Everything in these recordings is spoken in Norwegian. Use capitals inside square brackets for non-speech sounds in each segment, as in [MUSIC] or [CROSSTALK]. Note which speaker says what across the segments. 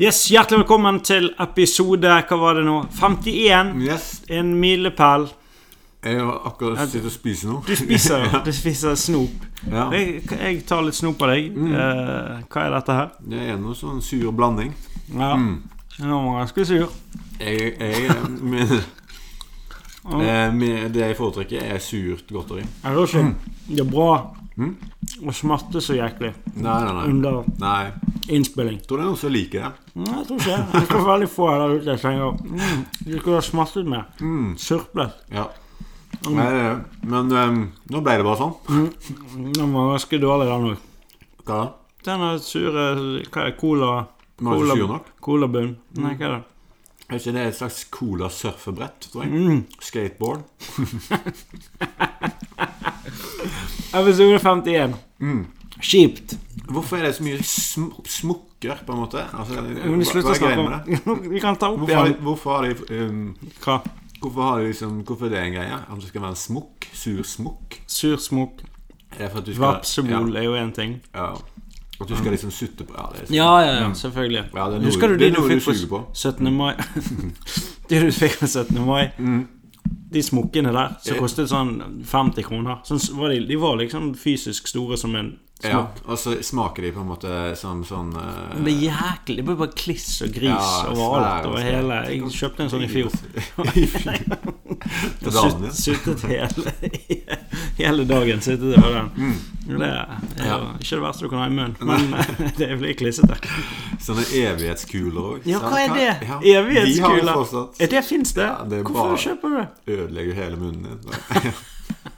Speaker 1: Yes, Hjertelig velkommen til episode hva var det nå? 51.
Speaker 2: Yes.
Speaker 1: En milepæl.
Speaker 2: Jeg har akkurat sittet og spist noe.
Speaker 1: Du spiser, du spiser snop.
Speaker 2: Ja.
Speaker 1: Jeg, jeg tar litt snop av deg. Eh, hva er dette her?
Speaker 2: Det er noe sånn sur blanding.
Speaker 1: Ja. Nå var jeg ganske sur.
Speaker 2: Jeg, jeg men, eh, men Det jeg foretrekker, er surt godteri.
Speaker 1: Er det, også, det er bra å smerte så jæklig
Speaker 2: Nei, nei, nei.
Speaker 1: under
Speaker 2: nei. Jeg
Speaker 1: innspilling.
Speaker 2: tror det er noen som liker det.
Speaker 1: Nei, jeg tror ikke det. Jeg tror veldig få her der ute jeg tenker mm, De skulle ha smertet med. Surplet.
Speaker 2: Mm, Ja.
Speaker 1: Mm.
Speaker 2: Nei, det er det. Men eh, nå ble det bare sånn.
Speaker 1: Den var ganske dårlig, den òg.
Speaker 2: Hva da?
Speaker 1: Den er sure Hva er det? Cola?
Speaker 2: Var det
Speaker 1: cola-
Speaker 2: ikke sur nok?
Speaker 1: Colabunn? Nei, hva er det?
Speaker 2: Er ikke det et slags cola-surfebrett? tror
Speaker 1: Mm.
Speaker 2: jeg? Skateboard.
Speaker 1: Episode 51.
Speaker 2: Mm.
Speaker 1: Kjipt.
Speaker 2: Hvorfor er det så mye sm smukker, på en måte? Altså,
Speaker 1: Men vi
Speaker 2: hva-
Speaker 1: slutter å
Speaker 2: hva er greia
Speaker 1: snakke
Speaker 2: med det?
Speaker 1: [LAUGHS] om Vi kan ta opp
Speaker 2: Hvorfor
Speaker 1: igjen
Speaker 2: har de, hvorfor har de eh,
Speaker 1: hva?
Speaker 2: Hvorfor, har de liksom, hvorfor er det en greie? At det skal være en smokk? Sur smokk?
Speaker 1: Sursmok.
Speaker 2: Er det for at du skal-
Speaker 1: Vapsebol er jo én ting.
Speaker 2: Ja, ja. At du skal liksom sutte på Ja, det er sånn.
Speaker 1: Ja, ja, ja, selvfølgelig.
Speaker 2: Ja, det er noe-
Speaker 1: Husker du
Speaker 2: det
Speaker 1: de
Speaker 2: er
Speaker 1: du
Speaker 2: noe
Speaker 1: fikk
Speaker 2: du
Speaker 1: på
Speaker 2: suger på.
Speaker 1: 17. mai? [LAUGHS] de du fikk på 17. mai? De smokkene der som
Speaker 2: Mm. Ja.
Speaker 1: kostet sånn 50 kroner. Sånn, s- var de, de var liksom fysisk store som en
Speaker 2: ja.
Speaker 1: smokk.
Speaker 2: Og så smaker de på en måte som sånn eh,
Speaker 1: Men det er jæklig. Det ble bare kliss og gris
Speaker 2: Ja,
Speaker 1: overalt.
Speaker 2: svær og
Speaker 1: Over
Speaker 2: svær.
Speaker 1: hele. Jeg kjøpte en sånn i fjor.
Speaker 2: [LAUGHS] I fjor. Til Daniel.
Speaker 1: Sut- Suttet hele, [LAUGHS] hele dagen. Suttet over den. Det er jo
Speaker 2: Mm. Ja.
Speaker 1: ikke det verste du kan ha i munnen, men eh, det blir klissete.
Speaker 2: Sånne evighetskuler òg.
Speaker 1: Ja, hva er det?
Speaker 2: Ja, De har jo
Speaker 1: Evighetskuler?
Speaker 2: fortsatt
Speaker 1: Er det fins det?
Speaker 2: Ja, det er
Speaker 1: Hvorfor
Speaker 2: bare-
Speaker 1: kjøper du det?
Speaker 2: Ødelegger hele munnen din. [LAUGHS]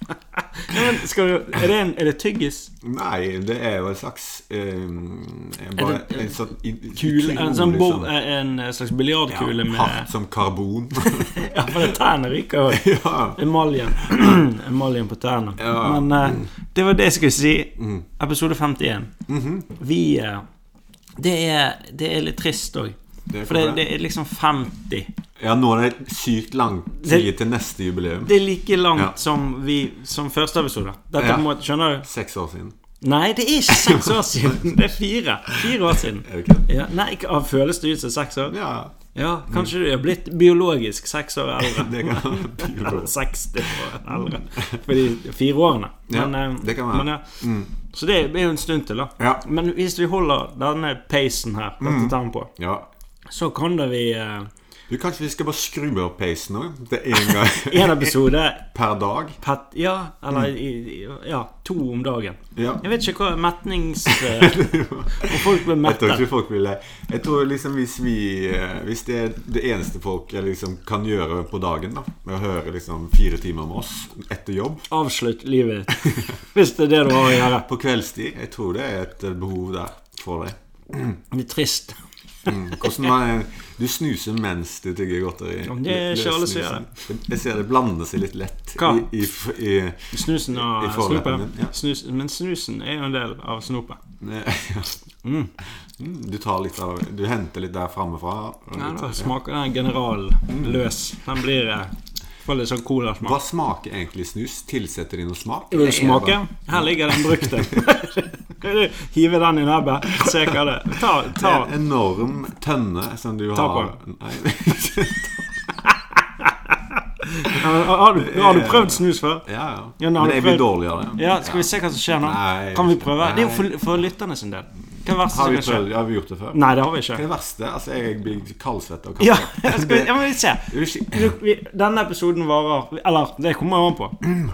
Speaker 1: Ja, men skal du, er, det en, er det tyggis?
Speaker 2: Nei, det er jo en slags eh, bare,
Speaker 1: Er det-
Speaker 2: En sånn i-
Speaker 1: Kule? En, sånn
Speaker 2: utrolig
Speaker 1: bo,
Speaker 2: sånn-
Speaker 1: en eh, slags
Speaker 2: ja,
Speaker 1: biljardkule med
Speaker 2: [LAUGHS] Hardt som karbon. [LAUGHS]
Speaker 1: Ja, for det tærne ryker jo.
Speaker 2: ja.
Speaker 1: Emaljen. [CLEARS THROAT] Emaljen på tærne.
Speaker 2: Ja. Mm.
Speaker 1: Men eh, det var det jeg skulle si. Episode 51.
Speaker 2: Mm-hmm.
Speaker 1: Vi eh, det er, det er litt trist òg.
Speaker 2: Det
Speaker 1: For
Speaker 2: kommer
Speaker 1: det, det er liksom 50.
Speaker 2: Ja, nå er det sykt lang tid til neste jubileum.
Speaker 1: Det er like langt
Speaker 2: Ja.
Speaker 1: som, vi, som første episode. Dette
Speaker 2: Ja.
Speaker 1: på en måte, Skjønner du?
Speaker 2: Seks år siden.
Speaker 1: Nei, det er ikke seks år
Speaker 2: [LAUGHS]
Speaker 1: siden. Det er fire. Fire år siden.
Speaker 2: Er det ikke det?
Speaker 1: Ja, nei, ikke- ah, føles det ut som seks år?
Speaker 2: Ja, [LAUGHS]
Speaker 1: Ja, kanskje du er blitt biologisk seks år eldre.
Speaker 2: det [LAUGHS] kan
Speaker 1: Eller 60 år eldre. For de fire årene.
Speaker 2: Ja,
Speaker 1: eh,
Speaker 2: det kan være. Mm.
Speaker 1: Men, ja. Så det er jo en stund til, da.
Speaker 2: Ja. Mm.
Speaker 1: Men hvis vi holder denne peisen her, dette tempoet,
Speaker 2: ja.
Speaker 1: så kan det vi eh,
Speaker 2: Du, kanskje vi skal bare skru opp peisen nå? Det er [LAUGHS] én gang
Speaker 1: En episode
Speaker 2: [LAUGHS] per dag?
Speaker 1: pet, Ja, eller
Speaker 2: Mm.
Speaker 1: i, i, ja, to om dagen.
Speaker 2: Ja.
Speaker 1: Jeg vet ikke hva metnings... eh, Om folk blir
Speaker 2: [LAUGHS] Jeg tror
Speaker 1: mettet.
Speaker 2: ikke folk vil det. Jeg tror liksom hvis vi eh, Hvis det er det eneste folk eh, liksom kan gjøre på dagen, da med å høre liksom fire timer med oss etter jobb
Speaker 1: Avslutt livet ditt. Hvis det er det du har å gjøre.
Speaker 2: På kveldstid Jeg tror det er et eh, behov der for deg.
Speaker 1: Litt trist.
Speaker 2: Mm. Hvordan man, du snuser mens du tygger godteri.
Speaker 1: men det er ikke alle som gjør
Speaker 2: det. Jeg ser det blander seg litt lett
Speaker 1: Hva?
Speaker 2: i, i, i
Speaker 1: Snusen og
Speaker 2: I forleppen
Speaker 1: snopet.
Speaker 2: din, ja.
Speaker 1: Snus, men snusen er jo en del av snopet.
Speaker 2: [LAUGHS] Ne- Mm, Du tar litt av Du henter litt der framefra. og
Speaker 1: Nei,
Speaker 2: litt-
Speaker 1: da
Speaker 2: ja.
Speaker 1: smaker den general løs. Den blir eh, Får litt sånn colasmak.
Speaker 2: Hva smaker egentlig snus? Tilsetter de noe smak?
Speaker 1: Vil du
Speaker 2: Det er bare-
Speaker 1: smake? Her ligger den
Speaker 2: [LAUGHS]
Speaker 1: brukte. Hive den i nebbet, se hva det er. Ta,
Speaker 2: Det
Speaker 1: ta.
Speaker 2: er en enorm tønne som du
Speaker 1: Ta
Speaker 2: har Nei. [LAUGHS]
Speaker 1: Har du, har du prøvd snus før?
Speaker 2: Ja,
Speaker 1: Ja,
Speaker 2: ja.
Speaker 1: nå har
Speaker 2: Men
Speaker 1: du
Speaker 2: jeg blir
Speaker 1: prøvd.
Speaker 2: dårlig av det.
Speaker 1: Ja, skal vi se hva som skjer nå?
Speaker 2: Nei.
Speaker 1: Kan vi prøve? Det er jo
Speaker 2: Nei.
Speaker 1: for, for lytterne sin del. Hva er det verste
Speaker 2: Har
Speaker 1: som
Speaker 2: vi
Speaker 1: kan skje?
Speaker 2: prøvd? Har vi gjort det før?
Speaker 1: Nei, det har vi ikke.
Speaker 2: Det verste Altså, jeg blir kaldsvett av
Speaker 1: Ja, [LAUGHS]
Speaker 2: kaffe.
Speaker 1: skal vi, ja men vi ser.
Speaker 2: Det er jo ikke-
Speaker 1: Du, vi, denne episoden varer Eller, det kommer jo an på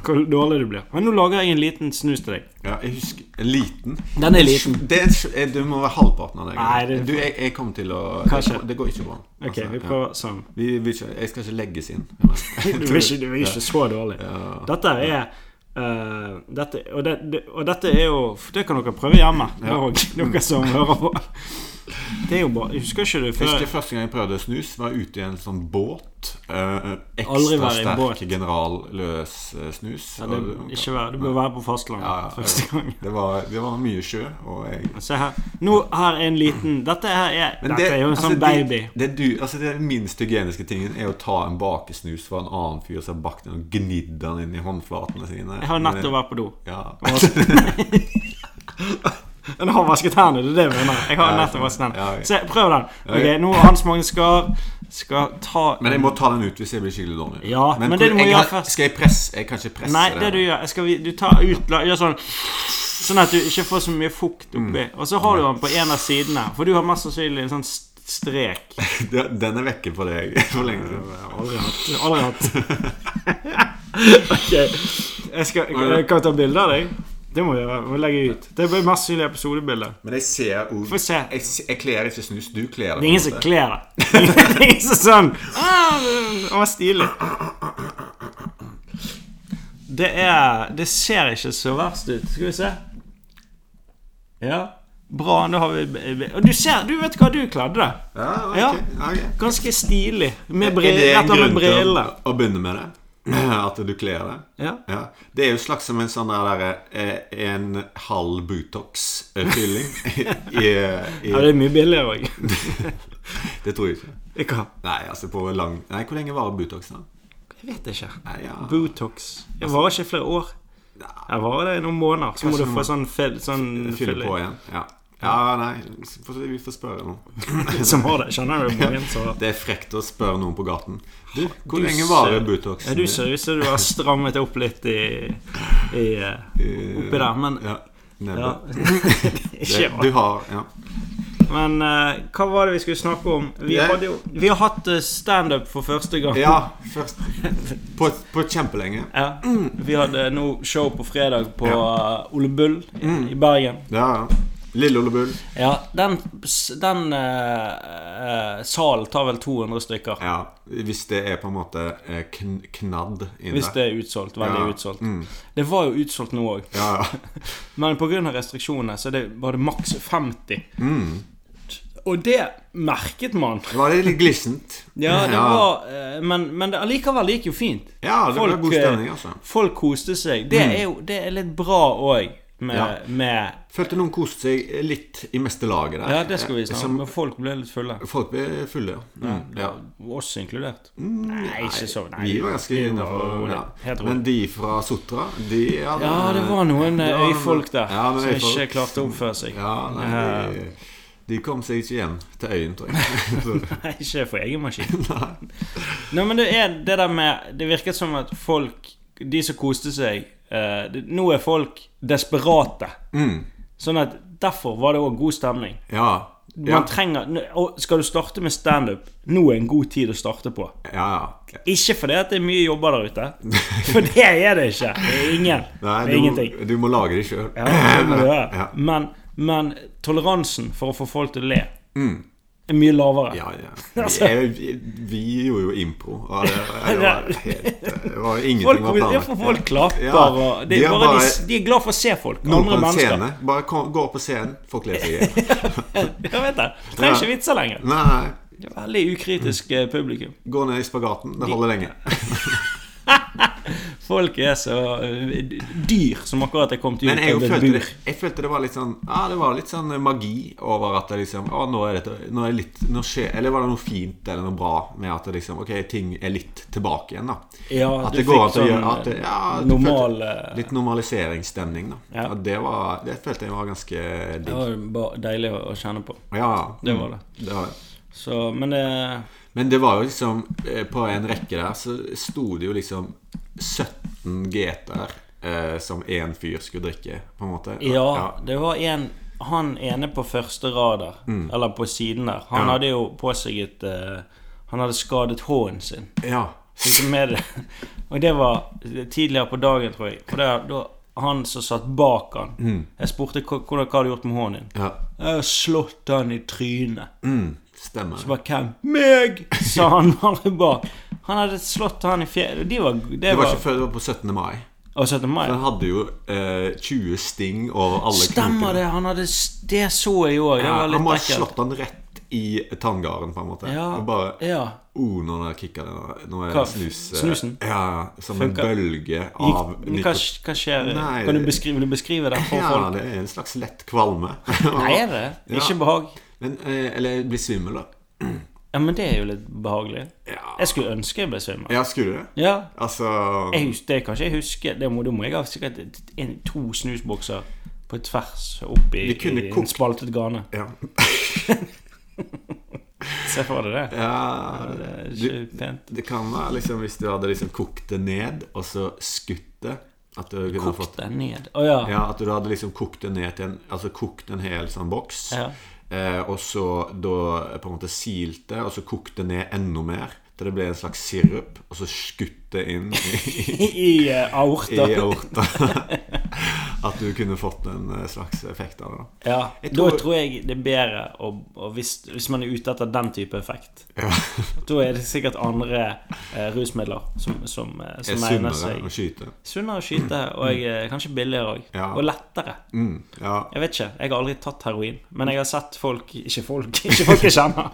Speaker 1: hvor dårlig du blir. Men nå lager jeg en liten snus til deg.
Speaker 2: Ja, jeg husker en Liten.
Speaker 1: Den er liten.
Speaker 2: Det er, en sj- eh, du må være halvparten av det.
Speaker 1: Nei, det-
Speaker 2: Du, jeg, jeg kommer til å
Speaker 1: Kanskje.
Speaker 2: Det, det går ikke bra.
Speaker 1: Ok,
Speaker 2: Altså,
Speaker 1: vi
Speaker 2: ja.
Speaker 1: prøver
Speaker 2: [LAUGHS]
Speaker 1: sånn.
Speaker 2: vi, vi, skal- Jeg skal ikke legges inn.
Speaker 1: [LAUGHS] Du er ikke, du er ikke så dårlig. Dette er eh, dette, og, det, det, og dette er jo Det kan dere prøve hjemme, dere også, [LAUGHS] dere som hører på. Det er jo bare Husker ikke du
Speaker 2: Jeg
Speaker 1: før
Speaker 2: husker første gang jeg prøvde snus, var jeg ute i en sånn båt. Eh,
Speaker 1: Aldri
Speaker 2: ekstra
Speaker 1: være i
Speaker 2: sterk
Speaker 1: båt.
Speaker 2: generalløs eh, snus.
Speaker 1: Ja, det,
Speaker 2: Og-
Speaker 1: ikke vær, Du bør være på fastlandet
Speaker 2: Ja, ja, ja.
Speaker 1: første gang.
Speaker 2: det, var, det var mye sjø, og jeg
Speaker 1: Se her. Nå her er en liten Dette her er,
Speaker 2: Men
Speaker 1: dette er jo en
Speaker 2: altså,
Speaker 1: sånn baby.
Speaker 2: Det, det, du, altså det minst hygieniske tingen er å ta en bakesnus fra en annen fyr som har bakt den, og gnidd den inn i håndflatene sine.
Speaker 1: Jeg har nettopp vært på do.
Speaker 2: Ja.
Speaker 1: Og- Den har vasket hendene, det er det jeg mener. Jeg har
Speaker 2: Ja,
Speaker 1: nettopp
Speaker 2: ja,
Speaker 1: vasket
Speaker 2: ja,
Speaker 1: hendene.
Speaker 2: ja.
Speaker 1: Se, prøv den.
Speaker 2: Ok.
Speaker 1: Ok, Nå Hans Magne skal Skal ta
Speaker 2: Men jeg må ta den ut hvis jeg blir skikkelig dårlig.
Speaker 1: Ja, men det du må
Speaker 2: jeg,
Speaker 1: gjøre
Speaker 2: har-
Speaker 1: først-
Speaker 2: Skal jeg presse? Jeg kan ikke presse
Speaker 1: Nei,
Speaker 2: den.
Speaker 1: det du gjør jeg skal, vi- Du tar ut la- Gjør sånn Sånn at du ikke får så mye fukt
Speaker 2: Mm.
Speaker 1: oppi. Og så har du den på en av sidene, for du har mest sannsynlig en sånn st- strek.
Speaker 2: Ja, [LAUGHS] Den er vekke på deg [LAUGHS] for lenge siden.
Speaker 1: Aldri hatt. Aldri hatt.
Speaker 2: [LAUGHS]
Speaker 1: ok. Jeg, skal, jeg kan ta bilde av deg. Det må vi gjøre. Vi må legge ut. Det blir mest sannsynlig episodebilde.
Speaker 2: Men jeg ser ord
Speaker 1: Få se.
Speaker 2: Jeg, s- jeg kler ikke snus. Du kler det.
Speaker 1: Det er ingen som kler det. [LAUGHS] Det er ingen som sånn «Ah, det var stilig. Det er Det ser ikke så verst ut. Skal vi se. Ja. Bra. Nå har vi Og du ser Du vet hva du kledde deg.
Speaker 2: Ja, ok,
Speaker 1: Ja.
Speaker 2: ok.
Speaker 1: Ganske stilig. Med
Speaker 2: Er det en
Speaker 1: briller. Med
Speaker 2: grunn til å,
Speaker 1: briller.
Speaker 2: å begynne med det? [CLEARS THROAT] At du kler det?
Speaker 1: Ja.
Speaker 2: Det er jo slags som en sånn der eh, En halv Butox-fylling. [LAUGHS] I, i,
Speaker 1: Ja, det er mye billigere òg. [LAUGHS]
Speaker 2: det tror jeg ikke.
Speaker 1: Hva?
Speaker 2: Nei, altså på lang Nei, hvor lenge varer Butox, da?
Speaker 1: Jeg vet ikke.
Speaker 2: Nei, ja.
Speaker 1: Botox. Jeg varer ikke i flere år. Jeg varer det i noen måneder. Så må du få sånn, fel, sånn
Speaker 2: Fylle på
Speaker 1: filling
Speaker 2: igjen. Ja. ja, nei får- Vi får spørre [LAUGHS] noen.
Speaker 1: som har det. Skjønner du? Mange som har det.
Speaker 2: Det er frekt å spørre noen på gaten. Du, hvor
Speaker 1: Du
Speaker 2: lenge varer
Speaker 1: ser- Ja,
Speaker 2: Butoxen
Speaker 1: du ser ut som du har strammet deg opp litt i, i eh,
Speaker 2: Eh,
Speaker 1: oppi der, men
Speaker 2: Ja.
Speaker 1: ja. [LAUGHS]
Speaker 2: Nebbet.
Speaker 1: Ikke
Speaker 2: Du
Speaker 1: alt.
Speaker 2: har Ja.
Speaker 1: Men eh, hva var det vi skulle snakke om? Vi,
Speaker 2: Jeg-
Speaker 1: hadde jo, vi har hatt eh, standup for første gang.
Speaker 2: ja først På, på kjempelenge.
Speaker 1: Ja. Vi hadde nå show på fredag på eh, Ole Bull i,
Speaker 2: Mm.
Speaker 1: i Bergen.
Speaker 2: Ja, ja. Lille Ole Bull.
Speaker 1: Ja, den, den eh, eh, salen tar vel 200 stykker.
Speaker 2: Ja, hvis det er på en måte eh, kn knadd inne.
Speaker 1: Hvis det er utsolgt. Veldig
Speaker 2: Ja, Mm.
Speaker 1: utsolgt. Det var jo utsolgt nå òg,
Speaker 2: Ja, ja.
Speaker 1: men pga. restriksjonene så det, var det maks 50. Og det merket man.
Speaker 2: Mm. Det var litt glissent.
Speaker 1: Ja, det
Speaker 2: ja.
Speaker 1: var eh, Men, men det, allikevel det gikk jo fint.
Speaker 2: Ja, det var
Speaker 1: Folk,
Speaker 2: god
Speaker 1: eh,
Speaker 2: stemning, altså.
Speaker 1: Folk koste seg. Det er jo det er litt bra òg. Med,
Speaker 2: Mm. Ja.
Speaker 1: med
Speaker 2: Følte noen koste seg litt i meste laget der.
Speaker 1: Ja, det skal vi
Speaker 2: Eh,
Speaker 1: snakke om.
Speaker 2: som-
Speaker 1: Men folk ble litt fulle.
Speaker 2: Folk ble fulle, ja. Mm, ja. Mm,
Speaker 1: Oss inkludert. nei, ikke så nei,
Speaker 2: Vi var ganske
Speaker 1: vi var
Speaker 2: innafor.
Speaker 1: rolig.
Speaker 2: Ja.
Speaker 1: Helt rolig.
Speaker 2: Men de fra Sotra, de hadde
Speaker 1: Ja, det var noen
Speaker 2: Det
Speaker 1: eh,
Speaker 2: var noen-
Speaker 1: øyfolk der
Speaker 2: Ja, noen
Speaker 1: som ikke
Speaker 2: øyfolk.
Speaker 1: klarte å oppføre seg.
Speaker 2: Ja, nei, de, de kom seg ikke hjem til øyen,
Speaker 1: [LAUGHS]
Speaker 2: tror jeg. Så-
Speaker 1: Nei, [LAUGHS] ikke for egen
Speaker 2: [LAUGHS]
Speaker 1: maskin. Nei, men det er det der med Det virket som at folk, de som koste seg eh, det, Nå er folk desperate.
Speaker 2: mm,
Speaker 1: Sånn at derfor var det òg god stemning.
Speaker 2: ja.
Speaker 1: Man
Speaker 2: Ja,
Speaker 1: trenger n- og Skal du starte med standup, nå er en god tid å starte på.
Speaker 2: ja, ja.
Speaker 1: Ikke fordi at det er mye jobber der
Speaker 2: [LAUGHS]
Speaker 1: ute, for det er det ikke. Det er ingen.
Speaker 2: Nei,
Speaker 1: det er ingenting.
Speaker 2: du, du må lage det sjøl. [LAUGHS]
Speaker 1: Ja, det må du gjøre.
Speaker 2: Ja.
Speaker 1: Men, men toleransen for å få folk til å le er mye lavere.
Speaker 2: Mm. Ja, ja.
Speaker 1: [LAUGHS] Altså-
Speaker 2: Vi, er, vi, vi gjorde jo impro. Og det,
Speaker 1: [LAUGHS]
Speaker 2: det, var helt, det var ingenting
Speaker 1: Folk,
Speaker 2: var
Speaker 1: det er
Speaker 2: planlagt.
Speaker 1: for folk klapper
Speaker 2: Ja.
Speaker 1: og det
Speaker 2: De
Speaker 1: er
Speaker 2: har
Speaker 1: bare,
Speaker 2: bare
Speaker 1: de, de er glad for å se folk.
Speaker 2: noen
Speaker 1: Andre
Speaker 2: på en
Speaker 1: mennesker. [LAUGHS]
Speaker 2: scene. Bare kom, gå på scenen, folk ler seg i hjel.
Speaker 1: Jeg vet det. Trenger ikke
Speaker 2: Ja.
Speaker 1: vitser lenger.
Speaker 2: Nei, nei.
Speaker 1: Det er Veldig ukritisk eh, publikum.
Speaker 2: Gå ned i spagaten. Det holder lenge.
Speaker 1: Folk er så eh, dyr som akkurat er kommet ut
Speaker 2: [LAUGHS] Men jeg,
Speaker 1: av et
Speaker 2: følte det,
Speaker 1: bur.
Speaker 2: jeg følte det var litt sånn Ja, det var litt sånn magi over at det liksom Å, nå er dette Nå er litt nå skjer, Eller var det noe fint eller noe bra med at det liksom Ok, ting er litt tilbake igjen, da.
Speaker 1: Ja,
Speaker 2: At
Speaker 1: du
Speaker 2: det
Speaker 1: fikk
Speaker 2: går an til å
Speaker 1: sånn
Speaker 2: gjøre at det, ja, du følte-
Speaker 1: normal eh,
Speaker 2: Litt normaliseringsstemning, da.
Speaker 1: Ja.
Speaker 2: Ja. Det, var, det følte jeg var ganske
Speaker 1: Det
Speaker 2: digg.
Speaker 1: var bare deilig å å kjenne på.
Speaker 2: Ja,
Speaker 1: Det var det.
Speaker 2: det var det.
Speaker 1: Så, men det
Speaker 2: Men det var jo liksom eh, På en rekke der så sto det jo liksom 17 GT-er eh, som én fyr skulle drikke, på en måte.
Speaker 1: Ja, det var en Han ene på første rad der, eller på siden der, han
Speaker 2: Mm. Ja.
Speaker 1: hadde jo på seg et eh, Han hadde skadet hånden sin.
Speaker 2: ja.
Speaker 1: Fikk jeg med det. [LAUGHS] Og det var tidligere på dagen, tror jeg. Og det, da han som satt bak han
Speaker 2: Mm.
Speaker 1: Jeg spurte hva, hva hva har du gjort med hånden din.
Speaker 2: ja.
Speaker 1: Jeg har slått han i trynet.
Speaker 2: Mm, stemmer.
Speaker 1: Så bare hvem? Meg! [LAUGHS] sa han bare bak. Han hadde slått han i fjeset. De var Det
Speaker 2: Det var
Speaker 1: var
Speaker 2: ikke før det var på 17. mai.
Speaker 1: Og 17. mai.
Speaker 2: Den hadde jo eh, 20 sting over alle
Speaker 1: Stemmer det! Han hadde Det så jeg òg. Det
Speaker 2: Ja,
Speaker 1: var
Speaker 2: han
Speaker 1: litt
Speaker 2: bare
Speaker 1: ekkelt.
Speaker 2: slått han rett i tanngarden, på en måte.
Speaker 1: Ja,
Speaker 2: Og bare
Speaker 1: ja.
Speaker 2: Oh, nå har jeg kicka den. Nå er
Speaker 1: Hva?
Speaker 2: det snus eh,
Speaker 1: Snusen?
Speaker 2: Ja, som
Speaker 1: Funka?
Speaker 2: en bølge
Speaker 1: Gikk,
Speaker 2: av
Speaker 1: men hva,
Speaker 2: nikot-
Speaker 1: hva skjer?
Speaker 2: Nei,
Speaker 1: kan du
Speaker 2: det-
Speaker 1: beskrive, vil du beskrive det for
Speaker 2: Ja,
Speaker 1: folk?
Speaker 2: det er en slags lett kvalme.
Speaker 1: Nei, er det?
Speaker 2: Ja.
Speaker 1: Ikke behag?
Speaker 2: Men, eh, eller bli svimmel, da.
Speaker 1: Ja, men det er jo litt behagelig.
Speaker 2: Ja.
Speaker 1: Jeg skulle ønske jeg ble svimmel.
Speaker 2: ja, skulle du det?
Speaker 1: Ja.
Speaker 2: Altså
Speaker 1: Jeg hus- det kan ikke jeg huske. Det må, da må jeg ha sikkert en, to snusbokser på tvers opp i,
Speaker 2: Vi
Speaker 1: i
Speaker 2: kunne
Speaker 1: en
Speaker 2: kokt-
Speaker 1: spaltet gane.
Speaker 2: Ja.
Speaker 1: Se for deg det.
Speaker 2: ja
Speaker 1: Det er
Speaker 2: du,
Speaker 1: ikke pent.
Speaker 2: det kan være liksom hvis du hadde liksom kokt det ned, og så skutt det. At du kunne
Speaker 1: Kokt
Speaker 2: fått
Speaker 1: deg ned. Å ja.
Speaker 2: Ja, at du hadde liksom kokt det ned til en Altså kokt en hel sånn boks,
Speaker 1: Ja. [LAUGHS]
Speaker 2: eh, og så da på en måte silt det, og så kokt det ned enda mer til det ble en slags sirup, og så skutt det inn
Speaker 1: [LAUGHS]
Speaker 2: i,
Speaker 1: I, i eh,
Speaker 2: i
Speaker 1: aorta.
Speaker 2: aorta. [LAUGHS] At du kunne fått en eh, slags effekt av det. da.
Speaker 1: Ja.
Speaker 2: Jeg
Speaker 1: Da
Speaker 2: tror-
Speaker 1: tror jeg det er bedre å, å hvis, hvis man er ute etter den type effekt.
Speaker 2: Ja.
Speaker 1: Da er det sikkert andre eh, rusmidler som, som, eh,
Speaker 2: Det er
Speaker 1: som egner
Speaker 2: sunnere
Speaker 1: seg.
Speaker 2: å skyte.
Speaker 1: Sunnere å skyte, og eh, kanskje billigere òg.
Speaker 2: Ja.
Speaker 1: Og lettere.
Speaker 2: Mm, ja.
Speaker 1: Jeg vet ikke. Jeg har aldri tatt heroin. Men jeg har sett folk Ikke folk, [LAUGHS] ikke folk jeg
Speaker 2: [LAUGHS]
Speaker 1: kjenner.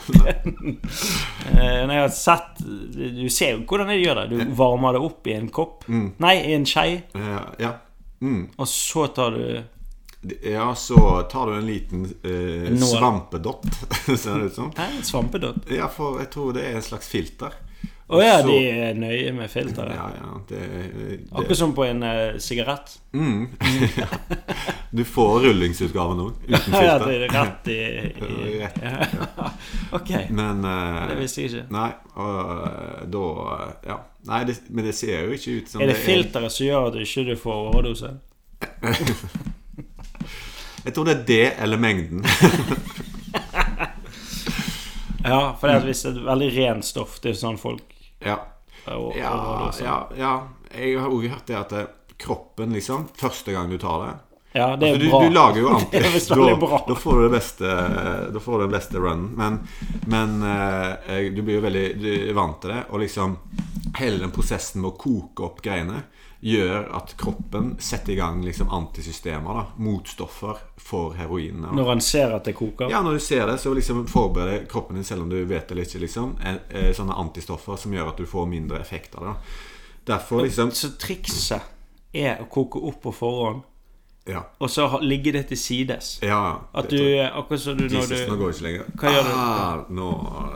Speaker 1: Eh, men jeg har sett Du ser jo hvordan de gjør det. Du varmer det opp i en kopp.
Speaker 2: Mm.
Speaker 1: Nei, i en skei.
Speaker 2: Eh, ja. Mm.
Speaker 1: Og så tar du
Speaker 2: ja, så tar du en liten eh,
Speaker 1: Nål.
Speaker 2: svampedott, [LAUGHS] ser det ut som.
Speaker 1: Hæ, en svampedott?
Speaker 2: Ja, for jeg tror det er en slags filter.
Speaker 1: Å ja,
Speaker 2: Så-
Speaker 1: de er nøye med filteret.
Speaker 2: Ja, ja, det, det
Speaker 1: Akkurat som på en eh, sigarett.
Speaker 2: Mm. [LAUGHS] Ja. Du får rullingsutgaven òg, uten
Speaker 1: [LAUGHS] Ja, det
Speaker 2: filter.
Speaker 1: er rett i,
Speaker 2: [LAUGHS]
Speaker 1: i
Speaker 2: Rett,
Speaker 1: ja. Ok,
Speaker 2: Men eh,
Speaker 1: det visste jeg ikke.
Speaker 2: Nei, og eh, da Ja. Nei, det, men det ser jo ikke ut som
Speaker 1: Er det filteret som gjør at du ikke får overdose?
Speaker 2: Jeg tror det er det eller mengden.
Speaker 1: Ja, for det er, hvis det er et veldig rent stoff. Det er jo sånn folk
Speaker 2: Ja.
Speaker 1: eh, o-
Speaker 2: Ja,
Speaker 1: overdoser.
Speaker 2: ja, ja. Jeg har òg hørt det at eh, kroppen, liksom Første gang du tar det
Speaker 1: Ja, det er
Speaker 2: Altså, du,
Speaker 1: bra.
Speaker 2: du
Speaker 1: [LAUGHS]
Speaker 2: lager jo
Speaker 1: Det
Speaker 2: anti.
Speaker 1: er visst veldig
Speaker 2: Da,
Speaker 1: bra.
Speaker 2: da får du det beste eh, Da får du den beste runnen. Men, men eh, du blir jo veldig du er vant til det. Og liksom hele den prosessen med å koke opp greiene gjør at kroppen setter i gang liksom antisystemer. da Motstoffer for heroinene.
Speaker 1: Når han ser at det koker?
Speaker 2: Ja, når du ser det, så liksom forbereder kroppen din, selv om du vet det eller ikke, liksom, en- eh, sånne antistoffer som gjør at du får mindre effekt av det. da. Derfor liksom
Speaker 1: Så trikset er å koke opp på forhånd,
Speaker 2: Ja.
Speaker 1: og så ha- ligge det til sides.
Speaker 2: ja
Speaker 1: At
Speaker 2: det
Speaker 1: du, eh,
Speaker 2: tror jeg.
Speaker 1: akkurat som du når
Speaker 2: Jesus, nå
Speaker 1: du
Speaker 2: går det ikke lenger.
Speaker 1: Hva gjør du?
Speaker 2: Ah, nå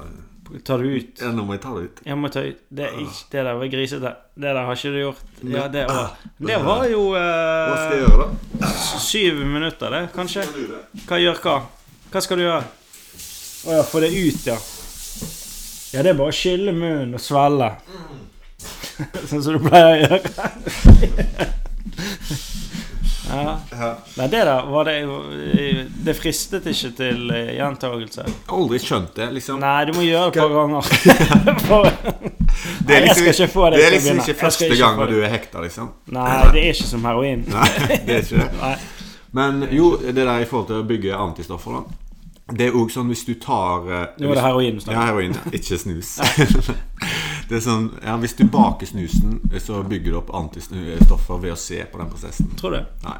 Speaker 1: tar det ut
Speaker 2: Ja, nå må jeg ta det ut.
Speaker 1: Jeg må ta ut Det, er ikke, det der var grisete. Det der har ikke du gjort. Ja, det var, det var jo
Speaker 2: Hva skal jeg
Speaker 1: eh,
Speaker 2: gjøre, da?
Speaker 1: syv minutter, det, kanskje. Hva gjør hva? Hva skal du gjøre? Å ja, få det ut, ja. Ja, det er bare å skylle munnen og svelle. [LAUGHS] sånn som du pleier å gjøre. [LAUGHS] ja.
Speaker 2: Ja.
Speaker 1: Nei, det der var det Det fristet ikke til eh, gjentagelse.
Speaker 2: Jeg har aldri skjønt det, liksom.
Speaker 1: Nei, du må gjøre det et par ganger. [LAUGHS] For-
Speaker 2: det er
Speaker 1: Nei, jeg
Speaker 2: liksom,
Speaker 1: skal ikke få det
Speaker 2: det er
Speaker 1: til å
Speaker 2: liksom
Speaker 1: begynne.
Speaker 2: ikke
Speaker 1: Jeg skal
Speaker 2: første
Speaker 1: ikke
Speaker 2: gang
Speaker 1: få
Speaker 2: når
Speaker 1: det.
Speaker 2: du er hekta, liksom.
Speaker 1: Nei, det er ikke som heroin.
Speaker 2: Nei, det er ikke det.
Speaker 1: [LAUGHS] Nei.
Speaker 2: Men jo, det der i forhold til å bygge antistoffer, da. Det er òg sånn hvis du tar eh,
Speaker 1: Nå er det heroin du
Speaker 2: Ja,
Speaker 1: snakker om.
Speaker 2: heroin. ja. Ikke snus. [LAUGHS] det er sånn, ja, Hvis du baker snusen, så bygger du opp antistoffer ved å se på den prosessen.
Speaker 1: Tror du?
Speaker 2: Nei.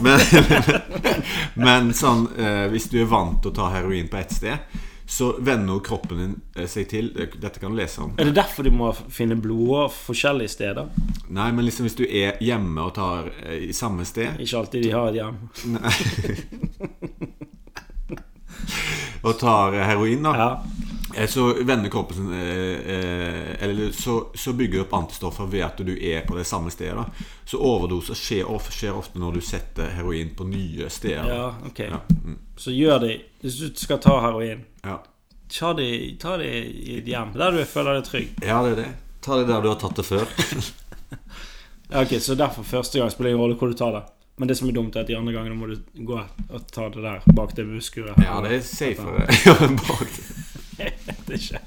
Speaker 2: Men, [LAUGHS] men sånn, eh, hvis du er vant til å ta heroin på ett sted, så venner jo kroppen din eh, seg til Dette kan du lese om.
Speaker 1: Er det derfor de må finne blodår forskjellige steder?
Speaker 2: Nei, men liksom hvis du er hjemme og tar eh, i samme sted
Speaker 1: Ikke alltid de har et hjem.
Speaker 2: og tar eh, heroin, da,
Speaker 1: Ja.
Speaker 2: eh, så vender kroppen sin eh, eh, Eller så, så bygger du opp antistoffer ved at du er på det samme stedet. Da. Så overdoser skjer, of- skjer ofte når du setter heroin på nye steder.
Speaker 1: ja, ok.
Speaker 2: Ja, mm,
Speaker 1: Så gjør de Hvis du skal ta heroin,
Speaker 2: ja.
Speaker 1: ta det ta det i et hjem der du føler deg trygg.
Speaker 2: ja, det er det. Ta det der du har tatt det før.
Speaker 1: Ja, ok, Så derfor første gang spiller det ingen rolle hvor du tar det. Men det som er dumt, er at de andre gangene må du gå og ta det der bak det busskuret.
Speaker 2: Ja, det er [LAUGHS] safere bak det.
Speaker 1: Jeg vet ikke.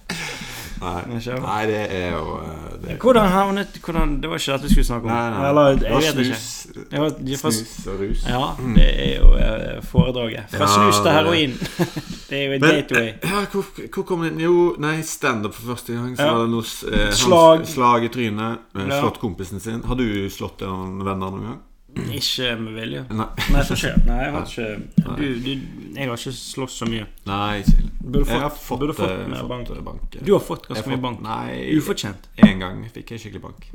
Speaker 2: Nei.
Speaker 1: Jeg skjønner.
Speaker 2: Nei, det er jo eh, det.
Speaker 1: Hvordan havnet hvordan, Det var ikke dette vi skulle snakke om.
Speaker 2: Nei, nei.
Speaker 1: Eller,
Speaker 2: Det
Speaker 1: jeg
Speaker 2: var
Speaker 1: vet ikke.
Speaker 2: snus,
Speaker 1: Det var, det var,
Speaker 2: snus og rus.
Speaker 1: ja, det er jo eh, foredraget. Fra
Speaker 2: Ja,
Speaker 1: snus til
Speaker 2: det-
Speaker 1: heroin. [LAUGHS] det er jo en
Speaker 2: Men- eh,
Speaker 1: gateway.
Speaker 2: Ja, hvor, hvor kom den Jo, nei, standup for første gang. Så
Speaker 1: Ja.
Speaker 2: var det noe s- eh, hans-
Speaker 1: Slag.
Speaker 2: slag i trynet. eh,
Speaker 1: Ja.
Speaker 2: Slått kompisen sin. Har du slått noen venner noen gang?
Speaker 1: Ikke med vilje.
Speaker 2: Nei.
Speaker 1: Nei, for ikke. Nei, jeg har ikke du, du, Jeg har ikke slåss så mye.
Speaker 2: Nei ikke.
Speaker 1: Burde
Speaker 2: Jeg har
Speaker 1: fått,
Speaker 2: fått,
Speaker 1: burde fått
Speaker 2: eh,
Speaker 1: mer bank.
Speaker 2: eh, bank.
Speaker 1: Du har fått
Speaker 2: Jeg
Speaker 1: ganske
Speaker 2: har
Speaker 1: mye
Speaker 2: fått- Mm.
Speaker 1: bank.
Speaker 2: Nei,
Speaker 1: Ufortjent.
Speaker 2: én gang fikk jeg skikkelig bank.